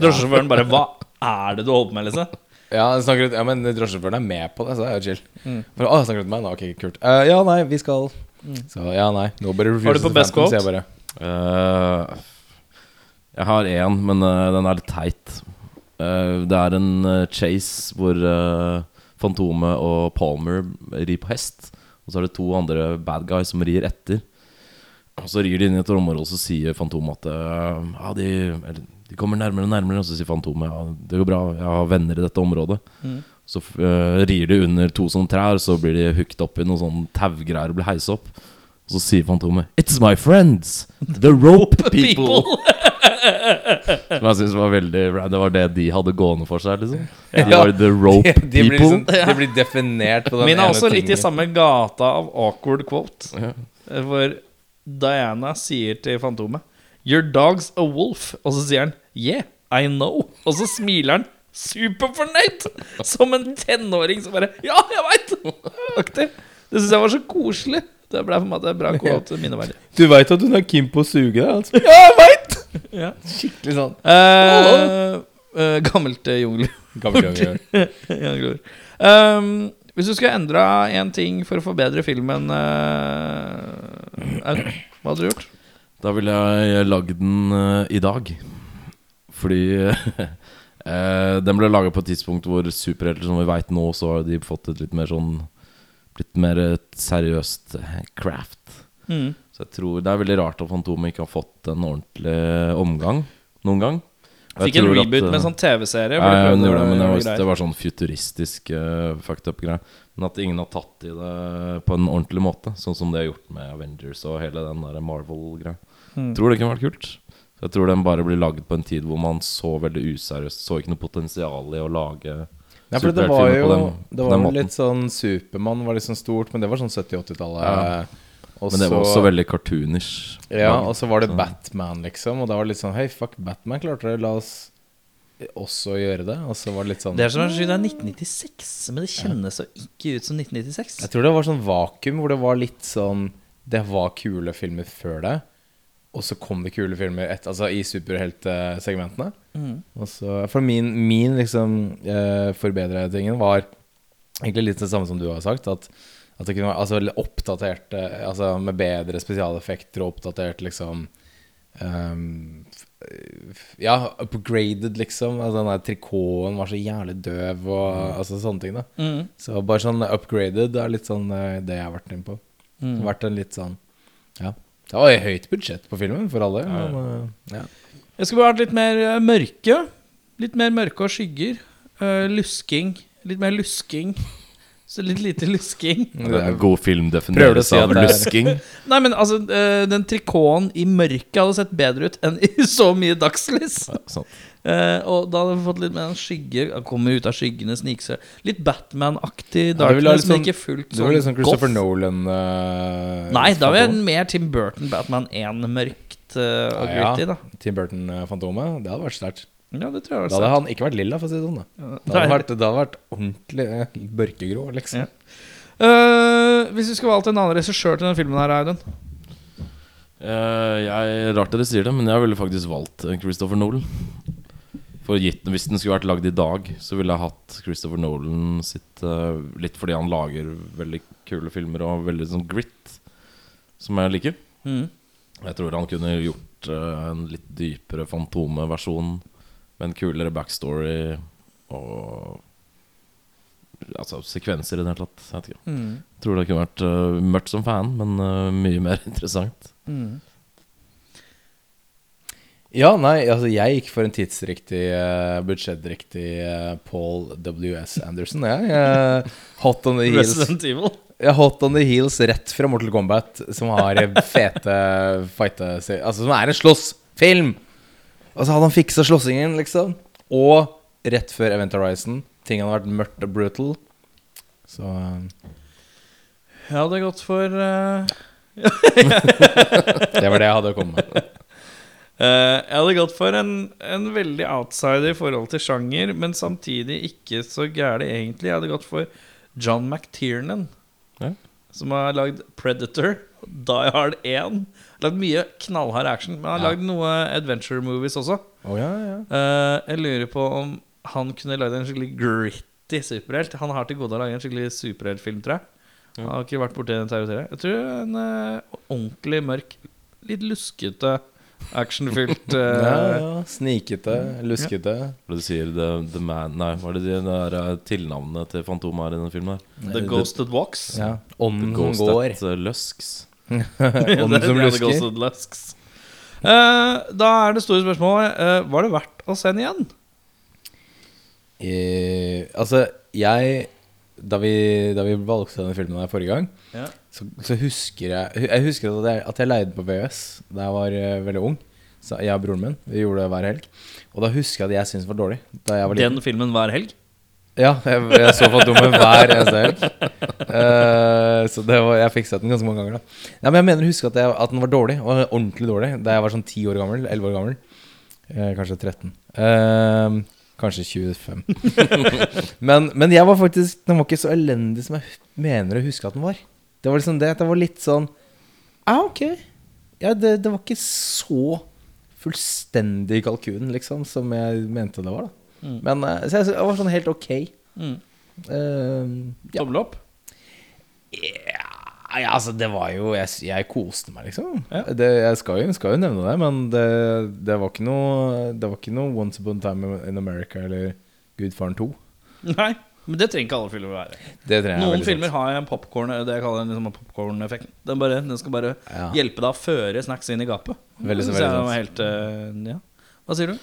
Speaker 1: Drosjesjåføren bare Hva er det du holder på med, liksom?
Speaker 4: Ja, han snakker ut, ja, men drosjesjåføren er med på det, så det er jo chill. For, å, han snakker ut med meg nå, ok, kult. Eh, ja, nei, vi skal Så ja, nei. Nobody
Speaker 1: Har du
Speaker 4: refuses
Speaker 1: på best
Speaker 4: the Phantom,
Speaker 1: quote?
Speaker 4: sier jeg bare.
Speaker 3: Eh, Jeg har én, men eh, den er litt teit. Eh, det er en eh, chase hvor eh, Fantomet og Palmer rir på hest. Og så er det to andre bad guys som rir etter. Og så rir de inn i et område, og så sier Fantomet at eh, ja, de, eller, de kommer nærmere og nærmere. Og så sier Fantomet ja, det går bra, jeg har venner i dette området.
Speaker 4: Mm.
Speaker 3: Så eh, rir de under to sånne trær, så blir de hooket opp i noen sånne taugreier og blir heist opp. Og så sier Fantomet 'It's my friends! The rope people'. Som jeg synes var veldig Det var det de hadde gående for seg, liksom. De var the rope
Speaker 4: De, de, blir
Speaker 3: people.
Speaker 4: liksom, de blir definert på den
Speaker 1: Min
Speaker 4: ene
Speaker 1: er også litt i
Speaker 4: tingen.
Speaker 1: samme gata av awkward quote. eh,
Speaker 3: Ja.
Speaker 1: Hvor Diana sier til Fantomet 'Your dog's a wolf', og så sier han 'Yeah, I know'. Og så smiler han superfornøyd, som en tenåring som bare 'Ja, jeg veit!' Det syns jeg var så koselig. Det ble på en måte bra quote minneverdig.
Speaker 4: Du veit at hun er keen på å suge deg? Altså.
Speaker 1: Ja, jeg veit! Ja.
Speaker 4: Skikkelig sånn.
Speaker 1: Eh, eh, gammelt eh, jungelord.
Speaker 4: Gammel gammel.
Speaker 1: I andre ord. Ehm, hvis du skulle endra én ting for å forbedre filmen eh, Aud, Hva hadde du gjort?
Speaker 3: Da ville jeg lagd den eh, i dag. Fordi eh, den ble laga på et tidspunkt hvor superhelter, som vi veit nå, så har de fått et litt mer sånn Litt mer et seriøst eh, craft.
Speaker 1: Mm.
Speaker 3: Så jeg tror Det er veldig rart at Fantomet ikke har fått en ordentlig omgang noen gang. Og jeg
Speaker 1: Fikk en
Speaker 3: tror at,
Speaker 1: reboot med
Speaker 3: eh,
Speaker 1: en sånn TV-serie. hvor
Speaker 3: Ja,
Speaker 1: de
Speaker 3: ja, hun
Speaker 1: prøvde
Speaker 3: gjorde det, men det var,
Speaker 1: greier.
Speaker 3: det var sånn futuristisk eh, fucked up-greie. Men at ingen har tatt i det på en ordentlig måte, sånn som de har gjort med Avengers og hele den der Marvel-greia.
Speaker 4: Hmm.
Speaker 3: Tror det kunne vært kult. Så Jeg tror den bare blir lagd på en tid hvor man så veldig useriøst, så ikke noe potensial i å lage
Speaker 4: Nei, for det var
Speaker 3: superheltfilmer
Speaker 4: jo
Speaker 3: på den,
Speaker 4: det
Speaker 3: på
Speaker 4: var
Speaker 3: den
Speaker 4: jo
Speaker 3: måten.
Speaker 4: litt sånn Supermann var liksom stort, men det var sånn 70-80-tallet.
Speaker 3: Ja.
Speaker 4: Og
Speaker 3: Men det var
Speaker 4: så-
Speaker 3: også veldig cartoonish.
Speaker 4: Ja,
Speaker 3: laget.
Speaker 4: og så var det
Speaker 3: Så-
Speaker 4: Batman, liksom. Og da var det litt sånn Hei, fuck, Batman klarte det. La oss også gjøre det. Og så var det litt sånn
Speaker 1: Det er som å si det er 1996, men det kjennes jo ikke ut som 1996.
Speaker 4: Jeg tror det var sånn vakuum hvor det var litt sånn Det var kule filmer før det, og så kom det kule filmer et, altså i superheltsegmentene. Og så- For min, min liksom eh, forbedra tingen var egentlig litt det samme som du har sagt. At, at det kunne være altså, veldig oppdatert eh, altså, med bedre spesialeffekter og oppdatert liksom ehm, f- f- ja, upgraded, liksom. Altså, den der trikoten var så jævlig døv, og altså sånne ting. da så bare sånn upgraded er litt sånn eh, det jeg har vært inne på.
Speaker 1: Mm.
Speaker 4: Vært en litt sånn Ja. Det var jo høyt budsjett på filmen for alle. Men, eh, ja.
Speaker 1: Jeg skulle bare vært litt mer eh, mørke. Litt mer mørke og skygger. Eh, lusking. Litt mer lusking. Så litt lite lusking.
Speaker 3: Det er en god film
Speaker 4: Prøver du å
Speaker 3: defineres
Speaker 4: si at
Speaker 3: av
Speaker 4: det er-
Speaker 3: lusking.
Speaker 1: Nei, men altså, eh, den trikoten i mørket hadde sett bedre ut enn i så mye dagslys.
Speaker 3: Sånn.
Speaker 1: Eh, og da hadde vi fått litt mer en skygge Han kommer ut av skyggene, sniker seg Litt Batman-aktig
Speaker 4: Ja, du vil ha
Speaker 1: darkness,
Speaker 4: litt
Speaker 1: men
Speaker 4: sånn-
Speaker 1: ikke fullt
Speaker 4: Det var litt sånn Christopher
Speaker 1: goth.
Speaker 4: Nolan eh,
Speaker 1: Nei, da vil jeg
Speaker 4: Fantomet.
Speaker 1: mer Tim Burton Batman 1 mørkt eh, og
Speaker 4: Ja,
Speaker 1: gritty, da.
Speaker 4: Tim Burton-fantomet. Det hadde vært sterkt.
Speaker 1: Ja, det tror jeg
Speaker 4: Da
Speaker 1: også.
Speaker 4: hadde han ikke vært lilla, for å si det sånn. Da, da, hadde, vært, da hadde vært ordentlig eh, mørkegrå, liksom.
Speaker 1: Ja. Eh, hvis du skulle valgt en annen regissør til denne filmen her, Audun
Speaker 3: Eh, jeg, rart dere sier det, men jeg ville faktisk valgt eh, Christopher Nolan. For gitt, Hvis den skulle vært lagd i dag, så ville jeg hatt Christopher Nolan sitt eh, Litt fordi han lager veldig kule filmer og veldig sånn grit, som jeg liker. Jeg tror han kunne gjort eh, en litt dypere Fantome-versjon med en kulere backstory og Altså sekvenser i det hele tatt. Jeg vet ikke. Tror det kunne vært eh, mørkt som fan, men eh, mye mer interessant.
Speaker 4: Ja, nei, altså jeg gikk for en tidsriktig, eh, budsjettriktig eh, Paul W.S. Anderson, jeg. Eh, hot on the heels.
Speaker 1: Resident Evil.
Speaker 4: Ja, Hot on the heels rett fra Mortal Kombat, som har fete fighte... Altså, som er en slåssfilm! Og så Altså, hadde han fiksa slåssingen, liksom. Og rett før Event Horizon. Ting hadde vært mørkt og brutal. Så eh,
Speaker 1: Jeg hadde gått for eh,
Speaker 4: det var det jeg hadde å komme med.
Speaker 1: Eh, jeg hadde gått for en, en veldig outsider i forhold til sjanger, men samtidig ikke så gæren egentlig. Jeg hadde gått for John McTiernan,
Speaker 3: Ja.
Speaker 1: som har lagd Predator, Die Hard 1. Lagd mye knallhard action, men han har lagd noe adventure movies også.
Speaker 4: Å, ja, ja.
Speaker 1: Eh, jeg lurer på om han kunne lagd en skikkelig gritty superhelt. Han har til gode å lage en skikkelig superheltfilm, tror jeg. Han har ikke vært borti den tidligere. Jeg tror en eh, ordentlig mørk, litt luskete actionfylt
Speaker 4: Ja,
Speaker 1: eh,
Speaker 4: ja, Snikete, luskete.
Speaker 3: For du sier The, the Man Nei, hva er det de det der eh, tilnavnet til Fantomet er i den filmen? her?
Speaker 1: The Ghosted Walks.
Speaker 4: Ja. Ånden som
Speaker 3: Ghost
Speaker 4: Mm. går.
Speaker 3: at, eh, Lusks.
Speaker 4: Ånden som
Speaker 1: Det er The
Speaker 4: lusker.
Speaker 1: Ghosted Lusks. Eh, da er det store spørsmålet eh, Var det verdt å se den igjen?
Speaker 4: Eh, altså, jeg da vi, da vi valgte denne filmen her forrige gang,
Speaker 1: Ja.
Speaker 4: så, så husker jeg Jeg husker at jeg, at jeg leide på VØS da jeg var eh, veldig ung. Så jeg og broren min vi gjorde det hver helg. Og da husker jeg at jeg syntes den var dårlig. Da jeg var liten.
Speaker 1: Den filmen hver helg?
Speaker 4: Ja, jeg, jeg så Fantomet hver eneste helg. Eh, så det var, jeg fikk sett den ganske mange ganger. da Nei, Men jeg mener å huske at, jeg, at den var dårlig, og ordentlig dårlig, da jeg var sånn 10 år gammel. 11 år gammel. Eh, kanskje 13. Eh, kanskje 25. men, men jeg var faktisk den var ikke så elendig som jeg mener å huske at den var. Det var liksom det at jeg var litt sånn Ja, ok. Ja, det, det var ikke så fullstendig kalkun, liksom, som jeg mente det var, da.
Speaker 1: Mm.
Speaker 4: Men eh, så jeg, så jeg var sånn helt ok. Eh, ja.
Speaker 1: Tommel opp?
Speaker 4: Nei, altså, det var jo Jeg, s- jeg koste meg, liksom. Det, jeg skal jo, skal jo nevne det, men det, det var ikke noe Det var ikke noe Once Upon a Time in America eller Gudfaren 2.
Speaker 1: Nei. Men det trenger ikke alle filmer å være.
Speaker 4: Det trenger jeg
Speaker 1: Noen
Speaker 4: veldig
Speaker 1: filmer
Speaker 4: sant.
Speaker 1: har en popcorn, det jeg kaller den liksom popcorn-effekten. Den, bare- den skal bare
Speaker 4: Ja.
Speaker 1: hjelpe deg å føre snacks inn i gapet.
Speaker 4: Veldig-
Speaker 1: Det synes
Speaker 4: veldig
Speaker 1: jeg var helt, eh, ja. Hva sier du?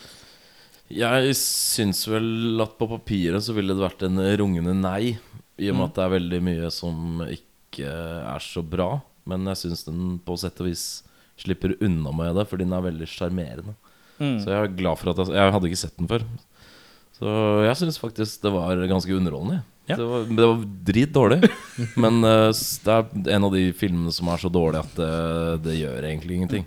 Speaker 3: Jeg syns vel at på papiret så ville det vært en rungende nei, i og
Speaker 4: Mm.
Speaker 3: med at det er veldig mye som ikke er så bra. Men jeg syns den på sett og vis slipper unna med det, for den er veldig sjarmerende.
Speaker 4: Mm.
Speaker 3: Så jeg er glad for at jeg, jeg hadde ikke sett den før. Så jeg syns faktisk det var ganske underholdende. jeg.
Speaker 1: Ja.
Speaker 3: Det, var, det var dritdårlig. Men eh, s- det er en av de filmene som er så dårlig at det, det gjør egentlig ingenting.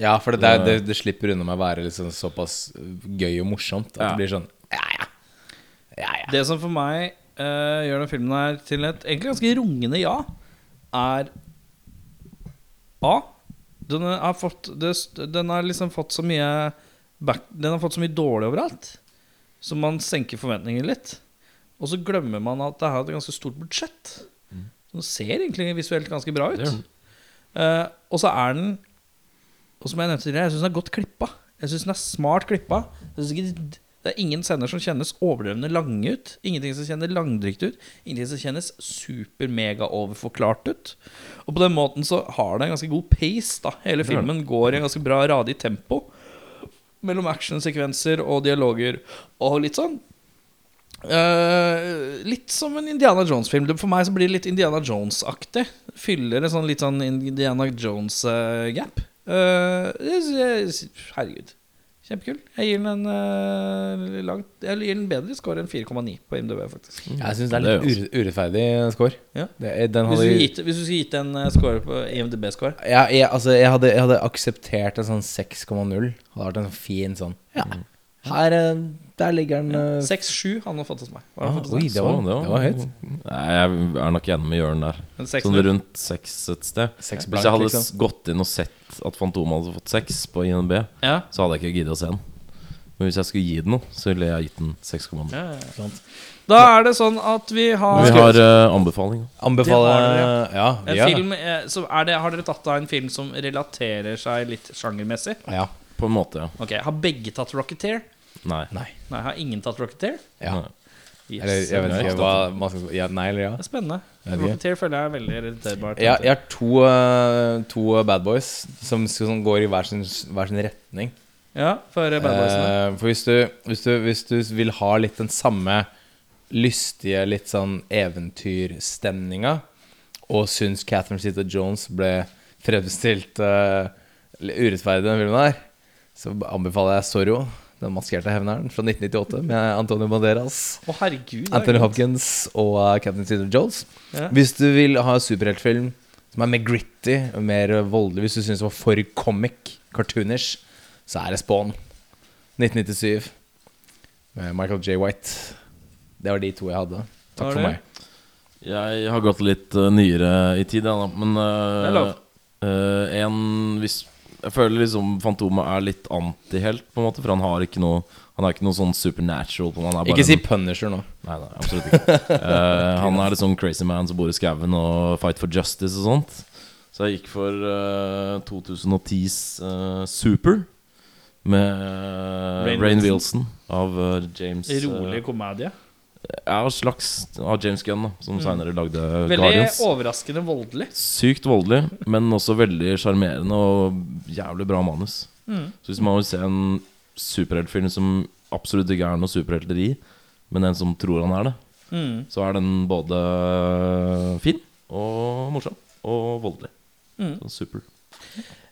Speaker 4: Ja, for det, det, det, det slipper unna med å være liksom såpass gøy og morsomt at
Speaker 3: Ja.
Speaker 4: det blir sånn Ja, ja. ja, ja.
Speaker 1: Det som for meg eh, gjør den filmen her til et egentlig ganske rungende ja, er A. Den har fått, det, den har liksom fått så mye back, Den har fått så mye dårlig overalt, så man senker forventningene litt. Og så glemmer man at det har et ganske stort budsjett. Den ser egentlig visuelt ganske bra ut.
Speaker 3: Mm. Det gjør den.
Speaker 1: Eh, og så er den Og som jeg nevnte tidligere, jeg syns den er godt klippa. Jeg synes den er smart klippa. Jeg synes ikke, det er ingen scener som kjennes overdrevne lange ut. Ingenting som kjennes langdrygt ut. Ingenting som kjennes super-mega-overforklart ut. Og på den måten så har det en ganske god pace. da Hele filmen går i en ganske bra, radig tempo mellom actionsekvenser og dialoger og litt sånn. Eh, litt som en Indiana Jones-film. Det- For meg så blir det litt Indiana Jones-aktig. Fyller en sånn litt sånn Indiana Jones-gap. Eh, herregud. Kjempekul. Jeg gir den en eh, langt Jeg gir den bedre score enn 4,9 på IMDb, faktisk.
Speaker 4: Jeg syns det er litt ure, urettferdig score.
Speaker 1: Mm. Ja.
Speaker 4: Det,
Speaker 1: Hvis
Speaker 4: Mm. den
Speaker 1: du
Speaker 4: hadde
Speaker 1: skulle gitt, hvis du skulle gitt en eh, score på IMDb-score
Speaker 4: Ja, jeg, altså, jeg, hadde, jeg hadde akseptert en sånn 6,0. Hadde vært en sånn fin sånn. Ja. Her, eh, der ligger den eh,
Speaker 1: 6-7 han har fått hos meg. Hva har
Speaker 4: Ah,
Speaker 1: han fått hos
Speaker 4: oi,
Speaker 1: meg.
Speaker 4: det var, det var, høyt.
Speaker 3: Nei, jeg er nok enig med Jørn der.
Speaker 1: En seks
Speaker 3: Sånn
Speaker 1: null.
Speaker 3: rundt seks et sted.
Speaker 4: Seks
Speaker 3: Hvis
Speaker 4: blank,
Speaker 3: jeg hadde
Speaker 4: liksom.
Speaker 3: s- gått inn og sett at Fantomet hadde fått seks på INB,
Speaker 1: Ja.
Speaker 3: så hadde jeg ikke giddet å se den. Men hvis jeg skulle gi den noe, så ville jeg gitt den 6,0.
Speaker 1: Da er det sånn at vi har
Speaker 3: Vi har eh, anbefaling.
Speaker 4: Anbefale
Speaker 1: Det
Speaker 4: Ja,
Speaker 1: har
Speaker 4: vi
Speaker 1: En
Speaker 4: gjør det.
Speaker 1: film, eh, så er det, Har dere tatt av en film som relaterer seg litt sjangermessig?
Speaker 4: Ja.
Speaker 3: På en måte, ja.
Speaker 1: Ok, Har begge tatt Rocketeer?
Speaker 3: Nei.
Speaker 4: Nei.
Speaker 1: Nei, har ingen tatt Rocketeer?
Speaker 4: Ja.
Speaker 3: Nei.
Speaker 1: Yes.
Speaker 4: Eller jeg vet ikke
Speaker 3: Nei.
Speaker 4: hva man skal ja, Nei eller ja?
Speaker 1: Det er spennende.
Speaker 4: Ja, de-
Speaker 1: Rocketeer føler jeg er veldig relaterbart.
Speaker 4: Jeg, jeg har to, eh, to bad boys som, som går i hver sin, hver sin retning.
Speaker 1: Ja, for eh, Bad Boysene.
Speaker 4: Eh, for hvis du, hvis, du, hvis du vil ha litt den samme lystige, litt sånn eventyrstemninga, og syns Catherine Zeta Jones ble fremstilt eh, litt urettferdig i den filmen her, så anbefaler jeg Zorro, den maskerte hevneren fra 1998, med Antonio Banderas.
Speaker 1: Å, herregud. det er
Speaker 4: Anthony
Speaker 1: godt.
Speaker 4: Hopkins og uh, Captain Cedar Jones.
Speaker 1: Ja.
Speaker 4: Hvis du vil ha superheltfilm som er mer gritty, mer voldelig, hvis du syns det var for comic, cartoonish, så er det Spawn. 1997 med Michael J. White. Det var de to jeg hadde. Takk
Speaker 1: Var
Speaker 4: for
Speaker 1: det?
Speaker 4: meg.
Speaker 3: Jeg har gått litt eh, nyere i tid, ja, da, men
Speaker 1: Det er lov.
Speaker 3: eh, eh, en hvis, Jeg føler liksom Fantomet er litt antihelt, på en måte, for han har ikke noe Han er ikke noe sånn supernatural. på han er bare
Speaker 4: Ikke si
Speaker 3: en-
Speaker 4: Punisher nå.
Speaker 3: Nei, nei, absolutt ikke. Eh, han er litt sånn crazy man som bor i skauen og fight for justice og sånt. Så jeg gikk for eh, 2010s eh, Super med eh,
Speaker 1: Rainn
Speaker 3: Rainn
Speaker 1: Wilson.
Speaker 3: Wilson av eh, James eh,
Speaker 1: Rolig komedie.
Speaker 3: Ja, slags av James Gunn, da, som senere lagde
Speaker 1: Mm. Veldig
Speaker 3: Guardians.
Speaker 1: overraskende voldelig.
Speaker 3: Sykt voldelig, men også veldig sjarmerende og jævlig bra manus.
Speaker 1: Mm.
Speaker 3: Så hvis man vil se en superheltfilm som absolutt ikke er noe superhelter i, men en som tror han er det,
Speaker 1: Mm.
Speaker 3: så er den både fin og morsom og voldelig.
Speaker 1: Mm.
Speaker 3: Så super.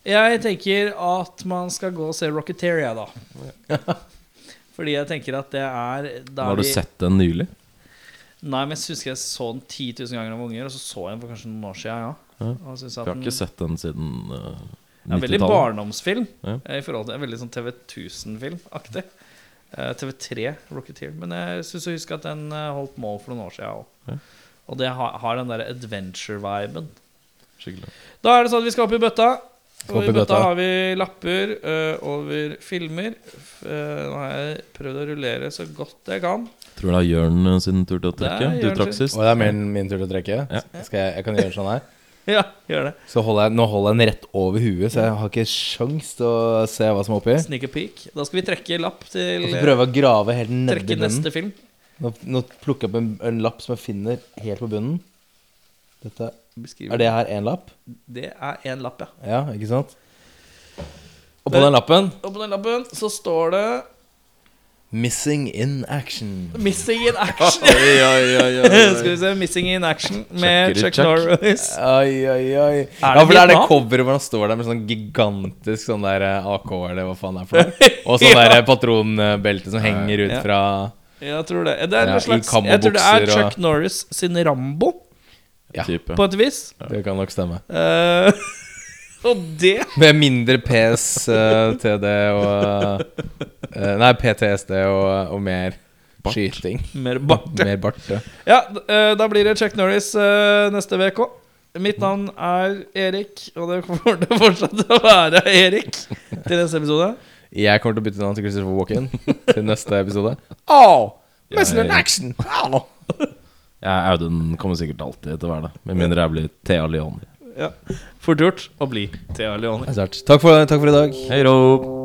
Speaker 1: Jeg tenker at man skal gå og se Rocketeer, jeg, da. Fordi jeg tenker at det er da
Speaker 3: Har du
Speaker 1: vi-
Speaker 3: sett den nylig?
Speaker 1: Nei, men jeg husker jeg så den 10 000 ganger av unger, og så så jeg den for kanskje noen år siden, ja.
Speaker 3: Ja.
Speaker 1: Og synes
Speaker 3: Jeg
Speaker 1: at
Speaker 3: har
Speaker 1: den
Speaker 3: ikke sett den siden eh,
Speaker 1: er en veldig
Speaker 3: 90-tallet.
Speaker 1: barndomsfilm
Speaker 3: Ja.
Speaker 1: eh, i forhold til en veldig sånn TV 1000-film-aktig. Eh, TV3 Rocketeer. Men jeg syns jeg husker at den eh, holdt mål for noen år siden, jeg
Speaker 3: Ja.
Speaker 1: òg. Og det har, har den der adventure-viben.
Speaker 3: Skikkelig.
Speaker 1: Da er det sånn at vi skal opp i bøtta. Og
Speaker 4: Skal
Speaker 1: i
Speaker 4: opp i
Speaker 1: bøtta
Speaker 4: bøtta.
Speaker 1: har vi lapper ø, over filmer. F- ø, nå har jeg prøvd å rullere så godt jeg kan.
Speaker 3: Tror det er Jørn eh, sin tur til å
Speaker 1: Det er
Speaker 3: trekke. Du
Speaker 1: Jørn
Speaker 3: trakk
Speaker 1: sin.
Speaker 3: sist.
Speaker 4: Og det er min, min tur til å trekke.
Speaker 3: Ja.
Speaker 4: Skal jeg, jeg kan gjøre sånn her.
Speaker 1: Ja, gjør det.
Speaker 4: Så holder jeg, nå holder jeg den rett over huet, så jeg har ikke sjans til å se hva som er oppi.
Speaker 1: Sneak a peek. Da skal vi trekke lapp til
Speaker 4: Og så prøver jeg å grave helt nedi
Speaker 1: Trekke
Speaker 4: bunnen.
Speaker 1: neste film.
Speaker 4: Nå, nå plukker jeg opp en, en lapp som jeg finner helt på bunnen. Dette,
Speaker 1: Beskriv.
Speaker 4: er det her én lapp?
Speaker 1: Det er én lapp, ja.
Speaker 4: Ja, ikke sant? Og på
Speaker 1: Det-
Speaker 4: den lappen
Speaker 1: Og på den lappen så står det
Speaker 4: 'Missing in action'.
Speaker 1: 'Missing in Action'.
Speaker 3: Oi, oi, oi, oi, oi.
Speaker 1: skal vi se 'Missing in Action' med Chuck,
Speaker 3: Chuck it, Chuck.
Speaker 1: Norris.
Speaker 4: Oi, oi, oi. ja,
Speaker 1: det
Speaker 4: for det er det
Speaker 1: Vietnam?
Speaker 4: coveret hvor han står der med sånn gigantisk sånn der eh, AK, eller hva faen det er for noe. Og sånn der eh, patronbelte som henger ut
Speaker 1: Ja.
Speaker 4: fra
Speaker 1: Jeg tror det. Det er
Speaker 4: Ja,
Speaker 1: en
Speaker 4: i
Speaker 1: slags Jeg tror det
Speaker 4: kammobukser
Speaker 1: er
Speaker 4: og-
Speaker 1: Chuck Norris sin Rambo,
Speaker 4: Ja.
Speaker 3: Type.
Speaker 1: på et vis.
Speaker 4: Det kan nok stemme.
Speaker 1: Eh, og det
Speaker 4: Med mindre PS, eh, TD og eh, Nei, PTSD og, og mer skyting.
Speaker 1: Mer bart.
Speaker 4: Mer bart. Ja.
Speaker 1: Ja, d- eh, da blir det Chuck Norris eh, neste VK. Mitt navn er Erik, og det kommer til å fortsette å være Erik til neste episode.
Speaker 4: Jeg kommer til å bytte navn til Christopher Walken til neste episode. Missing in action! Au!
Speaker 3: Ja, Audun kommer sikkert alltid til å være det. Med mindre jeg blir Thea Leoni.
Speaker 1: Ja. Fort gjort å bli Thea Leone.
Speaker 4: Det er sterkt. Takk for, takk for i dag.
Speaker 3: Hei, Rob.